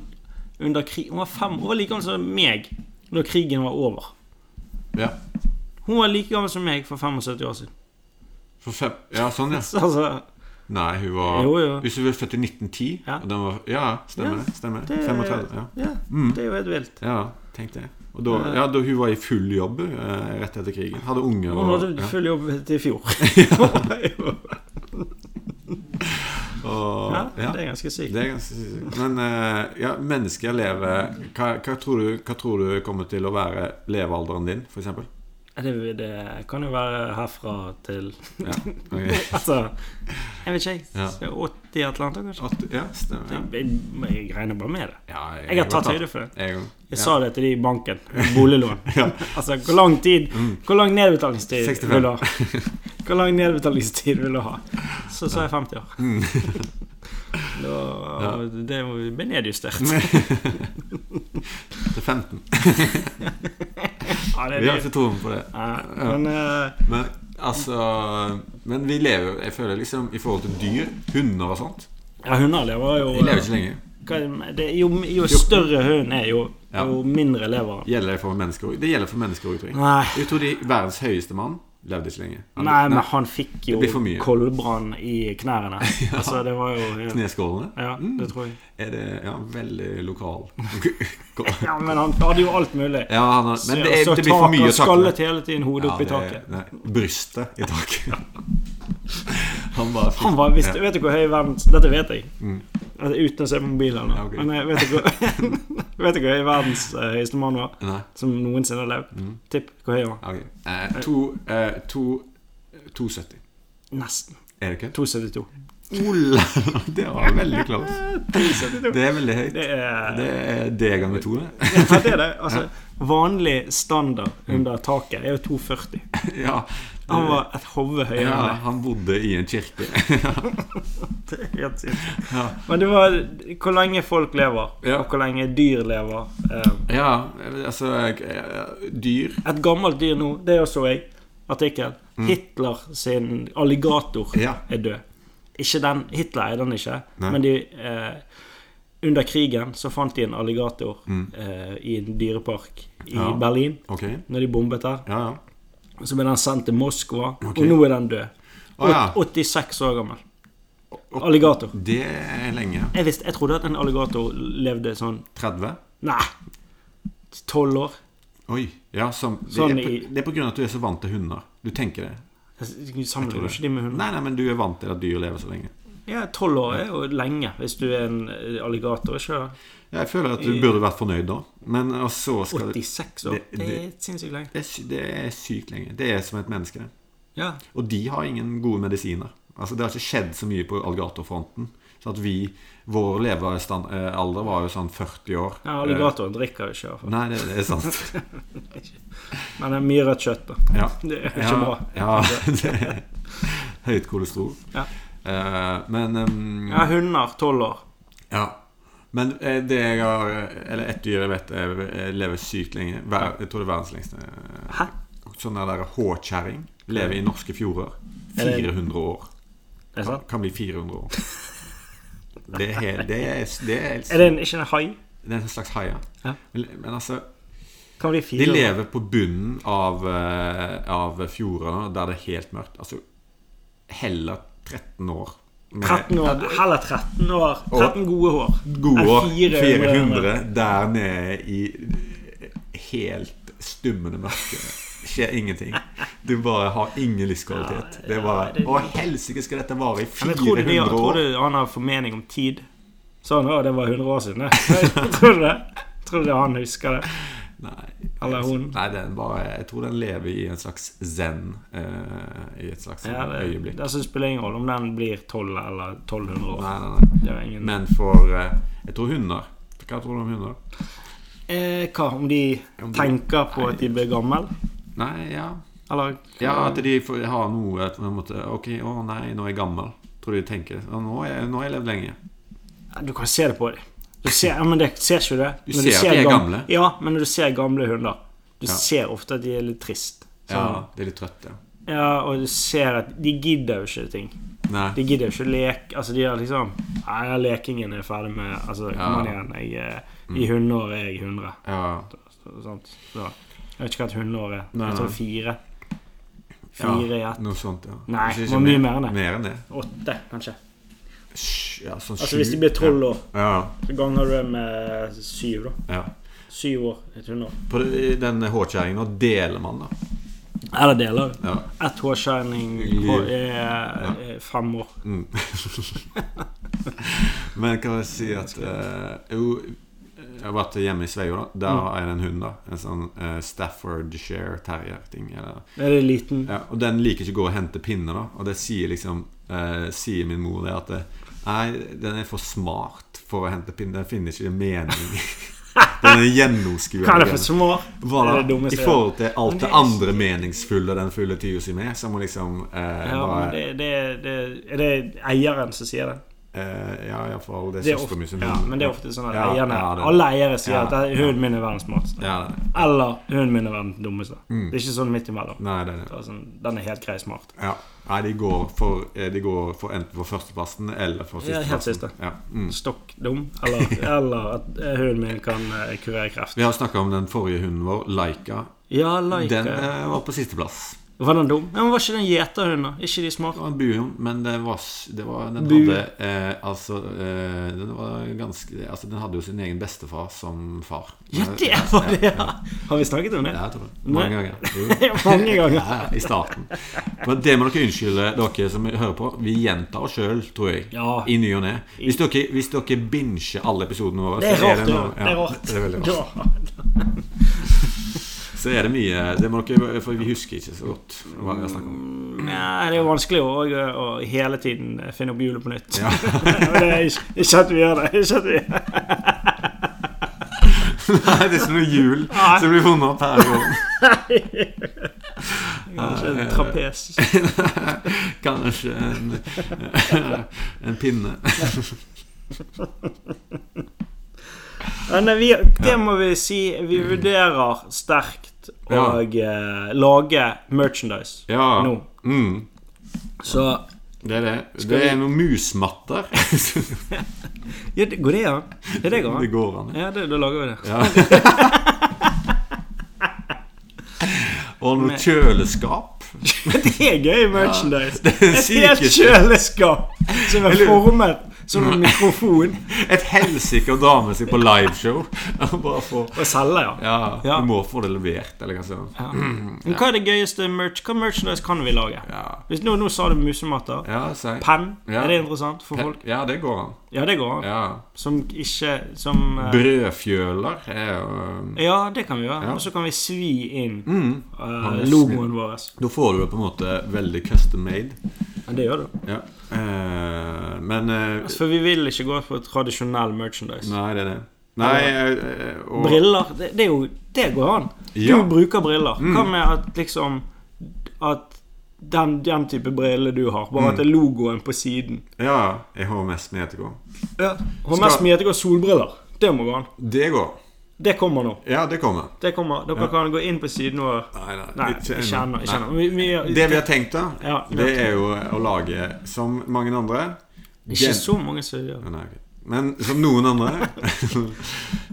Speaker 1: under krig Hun var fem Hun var like gammel som meg når krigen var over.
Speaker 2: ja.
Speaker 1: Hun var like gammel som meg for 75 år siden.
Speaker 2: For fem Ja, sånn, ja.
Speaker 1: [LAUGHS] Så altså
Speaker 2: Nei, hun var
Speaker 1: Jo, jo.
Speaker 2: Hvis hun var født i 1910
Speaker 1: Ja.
Speaker 2: og den var, Ja, stemmer
Speaker 1: Ja,
Speaker 2: det. Stemmer.
Speaker 1: det-
Speaker 2: 35. Ja.
Speaker 1: Ja,
Speaker 2: Mm.
Speaker 1: det er jo helt vilt.
Speaker 2: ja, tenk det. Og da, ja, da hun var i full jobb eh, rett etter krigen. Hadde unger
Speaker 1: Hun
Speaker 2: og
Speaker 1: hadde
Speaker 2: ja.
Speaker 1: full jobb til i
Speaker 2: [LAUGHS]
Speaker 1: fjor. [LAUGHS]
Speaker 2: Og,
Speaker 1: ja,
Speaker 2: ja.
Speaker 1: det er ganske sykt.
Speaker 2: Det er ganske sykt. Men eh, ja, mennesker lever hva, hva, tror du, hva tror du kommer til å være levealderen din, f.eks.?
Speaker 1: det. Det kan jo være herfra til
Speaker 2: Ja. ok.
Speaker 1: Altså, jeg vet ikke,
Speaker 2: Ja.
Speaker 1: jeg. 80 et eller annet, kanskje.
Speaker 2: At- ja, stemmer. Ja.
Speaker 1: Jeg, jeg, jeg regner bare med det.
Speaker 2: Ja,
Speaker 1: Jeg har tatt høyde for det.
Speaker 2: Jeg, [LAUGHS]
Speaker 1: Jeg
Speaker 2: ja.
Speaker 1: sa det til de i banken. Boliglån.
Speaker 2: [LAUGHS] Ja.
Speaker 1: Altså, hvor lang tid Hvor lang nedbetalingstid
Speaker 2: 65.
Speaker 1: vil du ha? Hvor lang nedbetalingstid vil du ha? Så sa jeg 50 år.
Speaker 2: Mm.
Speaker 1: [LAUGHS] Da, Det ble nedjustert.
Speaker 2: [LAUGHS] til 15.
Speaker 1: Ja, det er
Speaker 2: Vi har
Speaker 1: det.
Speaker 2: ikke troen på det.
Speaker 1: Ja, men eh,
Speaker 2: Men altså Men vi lever jo Jeg føler liksom i forhold til dyr, hunder og sånt
Speaker 1: ja, hunder lever jo
Speaker 2: De lever ikke lenge.
Speaker 1: hva- det, jo, jo større hunden er, jo,
Speaker 2: Ja.
Speaker 1: jo mindre lever han.
Speaker 2: Gjelder det for mennesker òg? Det gjelder for mennesker òg, tror jeg.
Speaker 1: Nei.
Speaker 2: Jeg tror de verdens høyeste mann levde ikke lenge. Han-
Speaker 1: Nei, men han fikk jo
Speaker 2: Det blir for mye.
Speaker 1: koldbrann i
Speaker 2: [LAUGHS]
Speaker 1: knærne. Altså, det var jo
Speaker 2: Kneskålene
Speaker 1: Ja,
Speaker 2: Mm.
Speaker 1: det tror jeg.
Speaker 2: er det ja, veldig lokal. [LAUGHS]
Speaker 1: Ja, men han hadde jo alt mulig.
Speaker 2: Ja, han har, men det, er,
Speaker 1: Så
Speaker 2: det blir for
Speaker 1: tak-
Speaker 2: mye
Speaker 1: han
Speaker 2: å takle.
Speaker 1: skallet hele tiden hodet opp i
Speaker 2: Ja, det-
Speaker 1: taket.
Speaker 2: Nei, brystet i taket. [LAUGHS] Han bare
Speaker 1: Han var, visst, Vet du hvor høy verdens Dette vet jeg. Altså, uten å se på mobilen. nå.
Speaker 2: Mm. Ja, ok.
Speaker 1: Men jeg vet du hvor, [LAUGHS] vet du hvor høy verdens eh, høyeste mann var?
Speaker 2: Nei.
Speaker 1: Som noensinne har levd?
Speaker 2: Mm.
Speaker 1: Tipp hvor høy han var.
Speaker 2: ok. Eh, to, eh, to 270.
Speaker 1: Nesten.
Speaker 2: Er det ikke?
Speaker 1: 272.
Speaker 2: Ola, [LAUGHS] det var veldig klart.
Speaker 1: 272.
Speaker 2: Det er veldig høyt.
Speaker 1: Det er-
Speaker 2: det er det ganger to, det.
Speaker 1: [LAUGHS]
Speaker 2: [LAUGHS]
Speaker 1: Ja, det er det. Altså, vanlig
Speaker 2: Mm.
Speaker 1: standard under taket er jo 240.
Speaker 2: Ja.
Speaker 1: Han var et hode høyere
Speaker 2: ja,
Speaker 1: enn det.
Speaker 2: han bodde i en kirke. [LAUGHS]
Speaker 1: [LAUGHS] Det er helt sykt.
Speaker 2: Ja.
Speaker 1: Men det var hvor lenge folk lever,
Speaker 2: Ja.
Speaker 1: og hvor lenge dyr lever. eh,
Speaker 2: Ja, altså eh, Dyr.
Speaker 1: Et gammelt dyr nå, det også jeg, artikkel. Hitler sin alligator
Speaker 2: Mm. Ja.
Speaker 1: er død. Ikke den, Hitler er den ikke,
Speaker 2: Nei.
Speaker 1: men de eh, Under krigen så fant de en alligator eh, i en dyrepark i
Speaker 2: Mm. Ja.
Speaker 1: Berlin.
Speaker 2: Ok.
Speaker 1: Når de bombet der.
Speaker 2: Ja, ja.
Speaker 1: Så ble den sendt til Moskva,
Speaker 2: Ok.
Speaker 1: og nå er den død.
Speaker 2: Å, ja.
Speaker 1: Åt- 86 år gammel. Alligator.
Speaker 2: Det er lenge.
Speaker 1: Jeg, visste, jeg trodde at en alligator levde sånn
Speaker 2: 30?
Speaker 1: Nei, tolv år.
Speaker 2: Oi. Ja, som, det,
Speaker 1: Sånn
Speaker 2: er,
Speaker 1: i-
Speaker 2: på- det er på grunn av at du er så vant til hunder. Du tenker det.
Speaker 1: Jeg Sammenligner jo
Speaker 2: det.
Speaker 1: ikke de med hunder.
Speaker 2: Nei, nei, men du er vant til at dyr lever så lenge.
Speaker 1: Ja, tolv år er jo lenge hvis du er en eh, alligator. Ikke det?
Speaker 2: Ja, jeg føler at du burde vært fornøyd da, men og så skal du
Speaker 1: 86 år.
Speaker 2: Det-
Speaker 1: Det er sinnssykt lenge.
Speaker 2: det er, sy- det er sykt lenge. Det er som et menneske, det.
Speaker 1: Ja.
Speaker 2: Og de har ingen gode medisiner. Altså Det har ikke skjedd så mye på alligatorfronten. Så at vi, Vår levealder var jo sånn 40 år.
Speaker 1: ja alligatoren drikker jo ikke, i hvert
Speaker 2: Eh,
Speaker 1: fall.
Speaker 2: Nei, det, det er
Speaker 1: [LAUGHS]
Speaker 2: sant.
Speaker 1: Men det er mye rødt kjøtt, da.
Speaker 2: Ja.
Speaker 1: Det er ikke
Speaker 2: ja,
Speaker 1: bra.
Speaker 2: Ja, [LAUGHS] det er høyt kolesterol.
Speaker 1: Ja.
Speaker 2: Eh, men ehm,
Speaker 1: Ja, hunder, tolv år.
Speaker 2: ja. Men eh, det jeg har eh, Eller ett dyr jeg vet jeg jeg lever sykt lenge. Ver, jeg tror det er verdens lengste.
Speaker 1: Hæ?
Speaker 2: Sånn der håkjerring lever i norske fjorder.
Speaker 1: Er det-
Speaker 2: 400 år.
Speaker 1: Er det
Speaker 2: Kan,
Speaker 1: sant?
Speaker 2: kan bli 400
Speaker 1: [LAUGHS]
Speaker 2: år. Det er, helt- det er, det er,
Speaker 1: Er det en, ikke en hai?
Speaker 2: det er en slags hai,
Speaker 1: Ja.
Speaker 2: Men, men altså
Speaker 1: Kan bli
Speaker 2: De
Speaker 1: fire. år.
Speaker 2: lever på bunnen av, eh, av fjordene, der det er helt mørkt. Altså heller 13 år. med
Speaker 1: 13 år. Heller 13 år. 13 gode hår.
Speaker 2: Gode år.
Speaker 1: Enn
Speaker 2: 400, der nede i helt stummende mørke. Skjer ingenting. Du bare har ingen livskvalitet. Det er bare Å, helsike, skal dette vare i
Speaker 1: Men jeg trodde, de,
Speaker 2: 400
Speaker 1: jeg
Speaker 2: år?
Speaker 1: trodde han har formening om tid. Sånn, å, det var 100 år siden, det. [LAUGHS] Tror du det? Tror du det han husker det?
Speaker 2: Nei.
Speaker 1: Eller hun.
Speaker 2: Nei, den bare Jeg tror den lever i en slags zen. eh, I et slags
Speaker 1: Ja, det,
Speaker 2: øyeblikk.
Speaker 1: det som spiller ingen rolle om den blir 12 eller 1200 år.
Speaker 2: Nei, nei, nei.
Speaker 1: Det er ingen
Speaker 2: Men for eh, Jeg tror hunder. Hva tror du om hunder?
Speaker 1: Eh, hva om de
Speaker 2: Om de-
Speaker 1: tenker på
Speaker 2: Nei.
Speaker 1: at de blir gammel?
Speaker 2: Nei, ja
Speaker 1: Eller
Speaker 2: Ja, at de får, har noe at man måtte, Ok, å nei, nå er jeg gammel. Tror de tenker det. Ja, Nå er jeg- nå har jeg levd lenge.
Speaker 1: Ja, Du kan se det på dem. Du
Speaker 2: [LAUGHS]
Speaker 1: ser, ja, men det, ser ikke det.
Speaker 2: Du
Speaker 1: Når
Speaker 2: ser at de er
Speaker 1: gam-
Speaker 2: gamle.
Speaker 1: Ja, men når du ser gamle hunder, du
Speaker 2: Ja.
Speaker 1: ser ofte at de er litt trist. Sånn.
Speaker 2: Ja, de er litt trøtte.
Speaker 1: Ja. og du ser at de gidder jo ikke ting.
Speaker 2: Nei.
Speaker 1: De gidder jo ikke leke. Altså, de er liksom Nei, den lekingen er jeg ferdig med. Altså, kom
Speaker 2: Ja. Mm.
Speaker 1: an igjen. Jeg, er- I hundeår er jeg 100.
Speaker 2: Ja.
Speaker 1: Så- Sant? Så, jeg vet ikke hva et hundeår er.
Speaker 2: Nei,
Speaker 1: Jeg
Speaker 2: nei.
Speaker 1: tror fire. Fire i
Speaker 2: ja,
Speaker 1: ett.
Speaker 2: noe sånt, ja.
Speaker 1: Nei,
Speaker 2: Kanskje
Speaker 1: det
Speaker 2: ikke
Speaker 1: var mye mer enn det.
Speaker 2: Mer enn det.
Speaker 1: Åtte, kanskje.
Speaker 2: Sj- Ja, sånn
Speaker 1: Altså
Speaker 2: sju.
Speaker 1: hvis de blir tolv år,
Speaker 2: Ja,
Speaker 1: så ganger du det med syv, da.
Speaker 2: ja.
Speaker 1: Syv år et hundeår.
Speaker 2: På den håkjerringen nå deler man, da.
Speaker 1: Eller deler.
Speaker 2: Ja.
Speaker 1: Ett hårshining på er, er fem år.
Speaker 2: Mm. [LAUGHS] Men kan jeg si at eh, Jo, jeg har vært hjemme i Sveio. da Der
Speaker 1: Mm.
Speaker 2: har jeg en hund. da En sånn eh, Staffordshire terrier-ting. eller-
Speaker 1: Er det liten?
Speaker 2: Ja, og den liker ikke å gå og hente pinner. da Og det sier liksom eh, Sier min mor det at eh, Nei, den er for smart for å hente pinner. Den finner ikke mening.
Speaker 1: [LAUGHS]
Speaker 2: Den er gjennomskuende.
Speaker 1: Kan det for små?
Speaker 2: Hva da?
Speaker 1: Det er det dummeste
Speaker 2: I
Speaker 1: jeg
Speaker 2: forhold til
Speaker 1: Men
Speaker 2: alt det
Speaker 1: det er
Speaker 2: andre meningsfulle den fyller tida si med, så må liksom eh,
Speaker 1: Ja,
Speaker 2: bare
Speaker 1: men det, det, det, er det eieren som sier det?
Speaker 2: Eh, ja, iallfall. Det
Speaker 1: det
Speaker 2: er
Speaker 1: er
Speaker 2: søsteren
Speaker 1: ofte,
Speaker 2: min som
Speaker 1: ja, men det er ofte sånn at
Speaker 2: Ja,
Speaker 1: eierne,
Speaker 2: ja, det-
Speaker 1: alle eiere sier
Speaker 2: ja,
Speaker 1: at det- hunden min er verdens smarteste.
Speaker 2: Ja, Mm. det er det.
Speaker 1: Eller hunden min er verdens dummeste. Det er ikke sånn midt imellom.
Speaker 2: Nei, det er
Speaker 1: Det
Speaker 2: det.
Speaker 1: er sånn, den er helt grei smart.
Speaker 2: Ja. Nei, de går, for, eh, de går for enten for førsteplassen eller for
Speaker 1: Ja, helt
Speaker 2: sisteplassen. Ja, mm.
Speaker 1: Stokk dum. Eller,
Speaker 2: [LAUGHS]
Speaker 1: eller at eh, hunden min kan eh, kurere kreft.
Speaker 2: Vi har snakka om den forrige hunden vår, Laika.
Speaker 1: Ja, like.
Speaker 2: Den eh, var på sisteplass.
Speaker 1: Var den dum? Ja, men Var ikke den gjeterhund, da? Ikke de smarte?
Speaker 2: Det var en buhund, men det var, s- det var, den
Speaker 1: Bu.
Speaker 2: hadde eh, Altså, eh, den var ganske Altså, den hadde jo sin egen bestefar som far. Eh,
Speaker 1: Ja, det var det, ja! Har vi snakket om det?
Speaker 2: Ja, jeg tror det. Mange
Speaker 1: [LAUGHS] Nei.
Speaker 2: ganger. Jo.
Speaker 1: Mange ganger.
Speaker 2: Ja, I starten. Men det må dere unnskylde, dere som hører på. Vi gjentar oss sjøl, tror jeg.
Speaker 1: Ja.
Speaker 2: Ah. I ny og ne. Hvis dere, hvis dere binsjer alle episodene våre,
Speaker 1: Det er
Speaker 2: så,
Speaker 1: rart,
Speaker 2: er
Speaker 1: det er
Speaker 2: det noe-
Speaker 1: rart. Det er
Speaker 2: ja,
Speaker 1: rart.
Speaker 2: det er veldig rart.
Speaker 1: Ja.
Speaker 2: Så er det mye Det må dere For vi husker ikke så godt hva vi har
Speaker 1: [LAUGHS]
Speaker 2: snakket om.
Speaker 1: Nei, Mm, det er jo vanskelig å, å hele tiden finne opp hjulet på nytt.
Speaker 2: Ja.
Speaker 1: Men [LAUGHS] det er ikke, ikke at vi gjør det. Ikke at vi gjør det.
Speaker 2: Nei, [LAUGHS] det er ikke noe hjul som blir funnet opp her. i våren.
Speaker 1: Kanskje en trapes.
Speaker 2: [LAUGHS] Kanskje en, en [LAUGHS] pinne.
Speaker 1: Men nei, vi, det må vi si. Vi vurderer sterkt å
Speaker 2: Ja.
Speaker 1: eh, lage merchandise
Speaker 2: Ja.
Speaker 1: nå.
Speaker 2: Mm.
Speaker 1: Så
Speaker 2: Det er det.
Speaker 1: Skal
Speaker 2: Det
Speaker 1: vi-
Speaker 2: er noen musmatter.
Speaker 1: ja, det- Går det an? Ja, [LAUGHS] det går
Speaker 2: Det
Speaker 1: an.
Speaker 2: går an. ja.
Speaker 1: Ja, det, da lager vi det.
Speaker 2: Og noe kjøleskap.
Speaker 1: Det er gøy
Speaker 2: [LAUGHS]
Speaker 1: merchandise. Et helt
Speaker 2: sykeste.
Speaker 1: kjøleskap som er
Speaker 2: lurer-
Speaker 1: formet som
Speaker 2: Mm.
Speaker 1: en mikrofon.
Speaker 2: Et helsike å dra med seg på liveshow. [LAUGHS] Bare få
Speaker 1: Å selge, ja.
Speaker 2: Ja,
Speaker 1: Ja.
Speaker 2: du må få det levert, eller hva sånn. Ja.
Speaker 1: Men hva er det gøyeste merch? Hva merchandise kan vi lage?
Speaker 2: Ja.
Speaker 1: Hvis nå, nå sa du musematter.
Speaker 2: Ja, si.
Speaker 1: Penn.
Speaker 2: Ja.
Speaker 1: Er det interessant for folk?
Speaker 2: ja, det går an.
Speaker 1: Ja, det går an.
Speaker 2: Ja.
Speaker 1: Som ikke Som eh,
Speaker 2: Brødfjøler er jo mm.
Speaker 1: Ja, det kan vi gjøre.
Speaker 2: Ja.
Speaker 1: Og så kan vi svi inn eh,
Speaker 2: Han er
Speaker 1: logoen vår.
Speaker 2: Mm. Da får du jo på en måte veldig custom made.
Speaker 1: Ja, det gjør du.
Speaker 2: Ja. Eh, men eh,
Speaker 1: Altså, for vi vil ikke gå for tradisjonell merchandise.
Speaker 2: Nei, det er det. Nei eh, eh, og,
Speaker 1: Briller, det, det er jo Det går an.
Speaker 2: Ja. Mm.
Speaker 1: Du bruker briller. Hva med at liksom At den, den type briller du har,
Speaker 2: Mm.
Speaker 1: bare at det er logoen på siden.
Speaker 2: Ja. Jeg har mest med ettergå.
Speaker 1: Ja. HMS
Speaker 2: Skal-
Speaker 1: Mietegård solbriller. Det må gå an.
Speaker 2: Det går.
Speaker 1: Det kommer nå.
Speaker 2: Ja, det kommer.
Speaker 1: Det kommer. Dere kan gå inn på siden vår.
Speaker 2: Nei, nei,
Speaker 1: Nei, ikke
Speaker 2: ikke ennå.
Speaker 1: ennå. ikke
Speaker 2: Nei.
Speaker 1: ennå. Vi- vi-
Speaker 2: Det vi har tenkt, da,
Speaker 1: Ja, vi har
Speaker 2: det er jo å lage, som mange andre
Speaker 1: Ikke så mange som gjør det.
Speaker 2: Ja, Nei, ok. Men som noen andre [LAUGHS]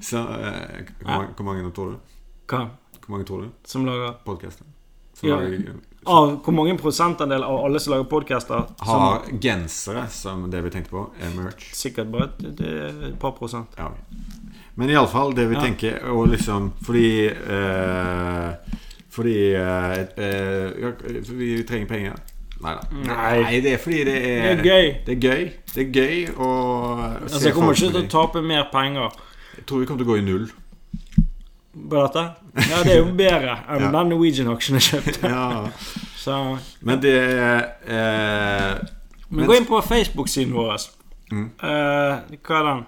Speaker 2: Så eh, hvor, mange, hvor mange tror du?
Speaker 1: Hva?
Speaker 2: Hvor mange tror du?
Speaker 1: Som lager
Speaker 2: Podcasten Som
Speaker 1: Ja.
Speaker 2: lager,
Speaker 1: Av hvor mange prosentandel av alle som lager podcaster som
Speaker 2: Har gensere, som det vi tenkte på, er merch
Speaker 1: Sikkert bare et, et, et par prosent.
Speaker 2: ja. ok. Men iallfall, det vi
Speaker 1: Ja.
Speaker 2: tenker Og liksom, fordi eh, Fordi eh, eh, ja, for Vi trenger penger Neida
Speaker 1: Mm. Nei.
Speaker 2: det er fordi det er
Speaker 1: Det er gøy.
Speaker 2: Det er gøy, det er gøy å
Speaker 1: Altså, jeg kommer ikke til å tape mer penger
Speaker 2: Jeg tror vi kommer til å gå i null
Speaker 1: på dette. Ja, Det er jo bedre enn
Speaker 2: Ja.
Speaker 1: den Norwegian-aksjen jeg kjøpte.
Speaker 2: Ja
Speaker 1: Så,
Speaker 2: Men det eh,
Speaker 1: men gå inn på Facebook-siden vår.
Speaker 2: Mm.
Speaker 1: Eh, hva er den?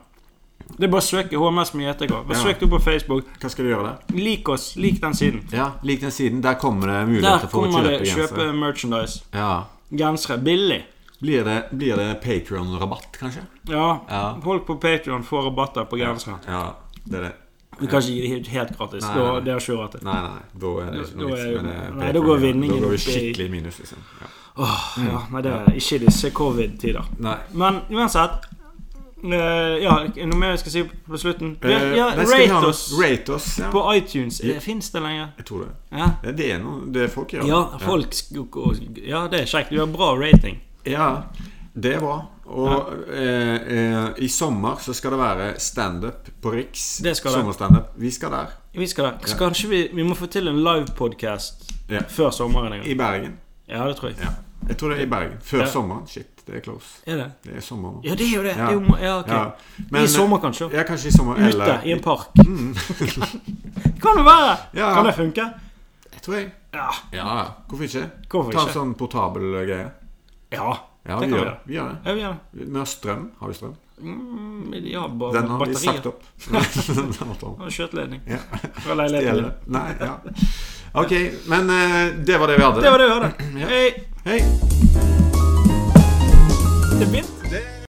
Speaker 1: Det er bare å søke HMS med gjetekår. Bare
Speaker 2: Ja.
Speaker 1: søk du på Facebook.
Speaker 2: Hva skal du gjøre der?
Speaker 1: Lik oss. Lik den siden.
Speaker 2: Ja, Lik den siden. Der kommer det
Speaker 1: Der
Speaker 2: muligheter for å
Speaker 1: kommer det
Speaker 2: kjøpe
Speaker 1: kjøpe
Speaker 2: genser.
Speaker 1: merchandise.
Speaker 2: Ja.
Speaker 1: Gensere. Billig.
Speaker 2: Blir det, blir det Patrion-rabatt, kanskje?
Speaker 1: Ja.
Speaker 2: Ja.
Speaker 1: Folk på Patreon får rabatter på gensere.
Speaker 2: Ja, det er det.
Speaker 1: Vi kan ikke gi det helt- helt gratis.
Speaker 2: Nei,
Speaker 1: Da,
Speaker 2: nei.
Speaker 1: det har ikke råd til.
Speaker 2: Nei, nei, da er det ikke
Speaker 1: Da- da
Speaker 2: noe vits
Speaker 1: er jo-
Speaker 2: med det.
Speaker 1: nei, da
Speaker 2: Patreon.
Speaker 1: går vinningen
Speaker 2: Da går vi
Speaker 1: opp i-
Speaker 2: skikkelig i minus, liksom. Ja.
Speaker 1: Åh, ja, nei, det er ikke i disse covid-tider.
Speaker 2: Nei.
Speaker 1: Men uansett eh, Ja, er det noe mer jeg skal si på slutten? Ja,
Speaker 2: Eh,
Speaker 1: ja,
Speaker 2: nei, skal vi ha
Speaker 1: rate
Speaker 2: noe-
Speaker 1: oss
Speaker 2: Rate oss, ja.
Speaker 1: på iTunes. Fins det lenger?
Speaker 2: Jeg tror det.
Speaker 1: Ja.
Speaker 2: Ja, Det er noe det folk gjør.
Speaker 1: Ja, folk sk- og- Ja, det er kjekt. Du har bra rating.
Speaker 2: Ja, det er bra. Og eh, eh, i sommer så skal det være standup på Riks.
Speaker 1: Det skal det.
Speaker 2: Sommerstandup. Vi skal der.
Speaker 1: Vi skal da så Kanskje vi, vi må få til en livepodkast
Speaker 2: Ja.
Speaker 1: før sommeren en gang.
Speaker 2: I Bergen.
Speaker 1: Ja, det tror jeg.
Speaker 2: Ja. Jeg tror det er i Bergen. Før
Speaker 1: Ja.
Speaker 2: sommeren. Shit, det er close.
Speaker 1: Er det?
Speaker 2: Det er sommer nå.
Speaker 1: Ja, det er jo det.
Speaker 2: Ja.
Speaker 1: det er jo, må- ja, ok.
Speaker 2: Ja.
Speaker 1: I sommer, kanskje.
Speaker 2: Ja, kanskje i sommer.
Speaker 1: Ute
Speaker 2: eller Mm.
Speaker 1: i en
Speaker 2: [LAUGHS]
Speaker 1: park. kan det være!
Speaker 2: Ja.
Speaker 1: Kan det funke?
Speaker 2: Jeg tror jeg.
Speaker 1: Ja.
Speaker 2: Ja, hvorfor ikke?
Speaker 1: Hvorfor
Speaker 2: Ta en
Speaker 1: ikke?
Speaker 2: sånn portabel greie.
Speaker 1: Ja,
Speaker 2: Ja,
Speaker 1: det
Speaker 2: vi
Speaker 1: kan vi
Speaker 2: gjør
Speaker 1: gjøre.
Speaker 2: det. Vi gjør det.
Speaker 1: Ja, vi gjør det.
Speaker 2: Vi har strøm. Har vi strøm?
Speaker 1: Mm, ja, bare
Speaker 2: Den har vi
Speaker 1: batterier. [LAUGHS]
Speaker 2: sagt opp. Den har vi tatt.
Speaker 1: Og skjøteledning
Speaker 2: Ja.
Speaker 1: fra leiligheten
Speaker 2: Eller?
Speaker 1: min.
Speaker 2: Nei, ja. Ok, men eh, det var det vi hadde.
Speaker 1: Det var det vi hadde.
Speaker 2: Ja.
Speaker 1: Hei!
Speaker 2: Hei.
Speaker 1: Det begynte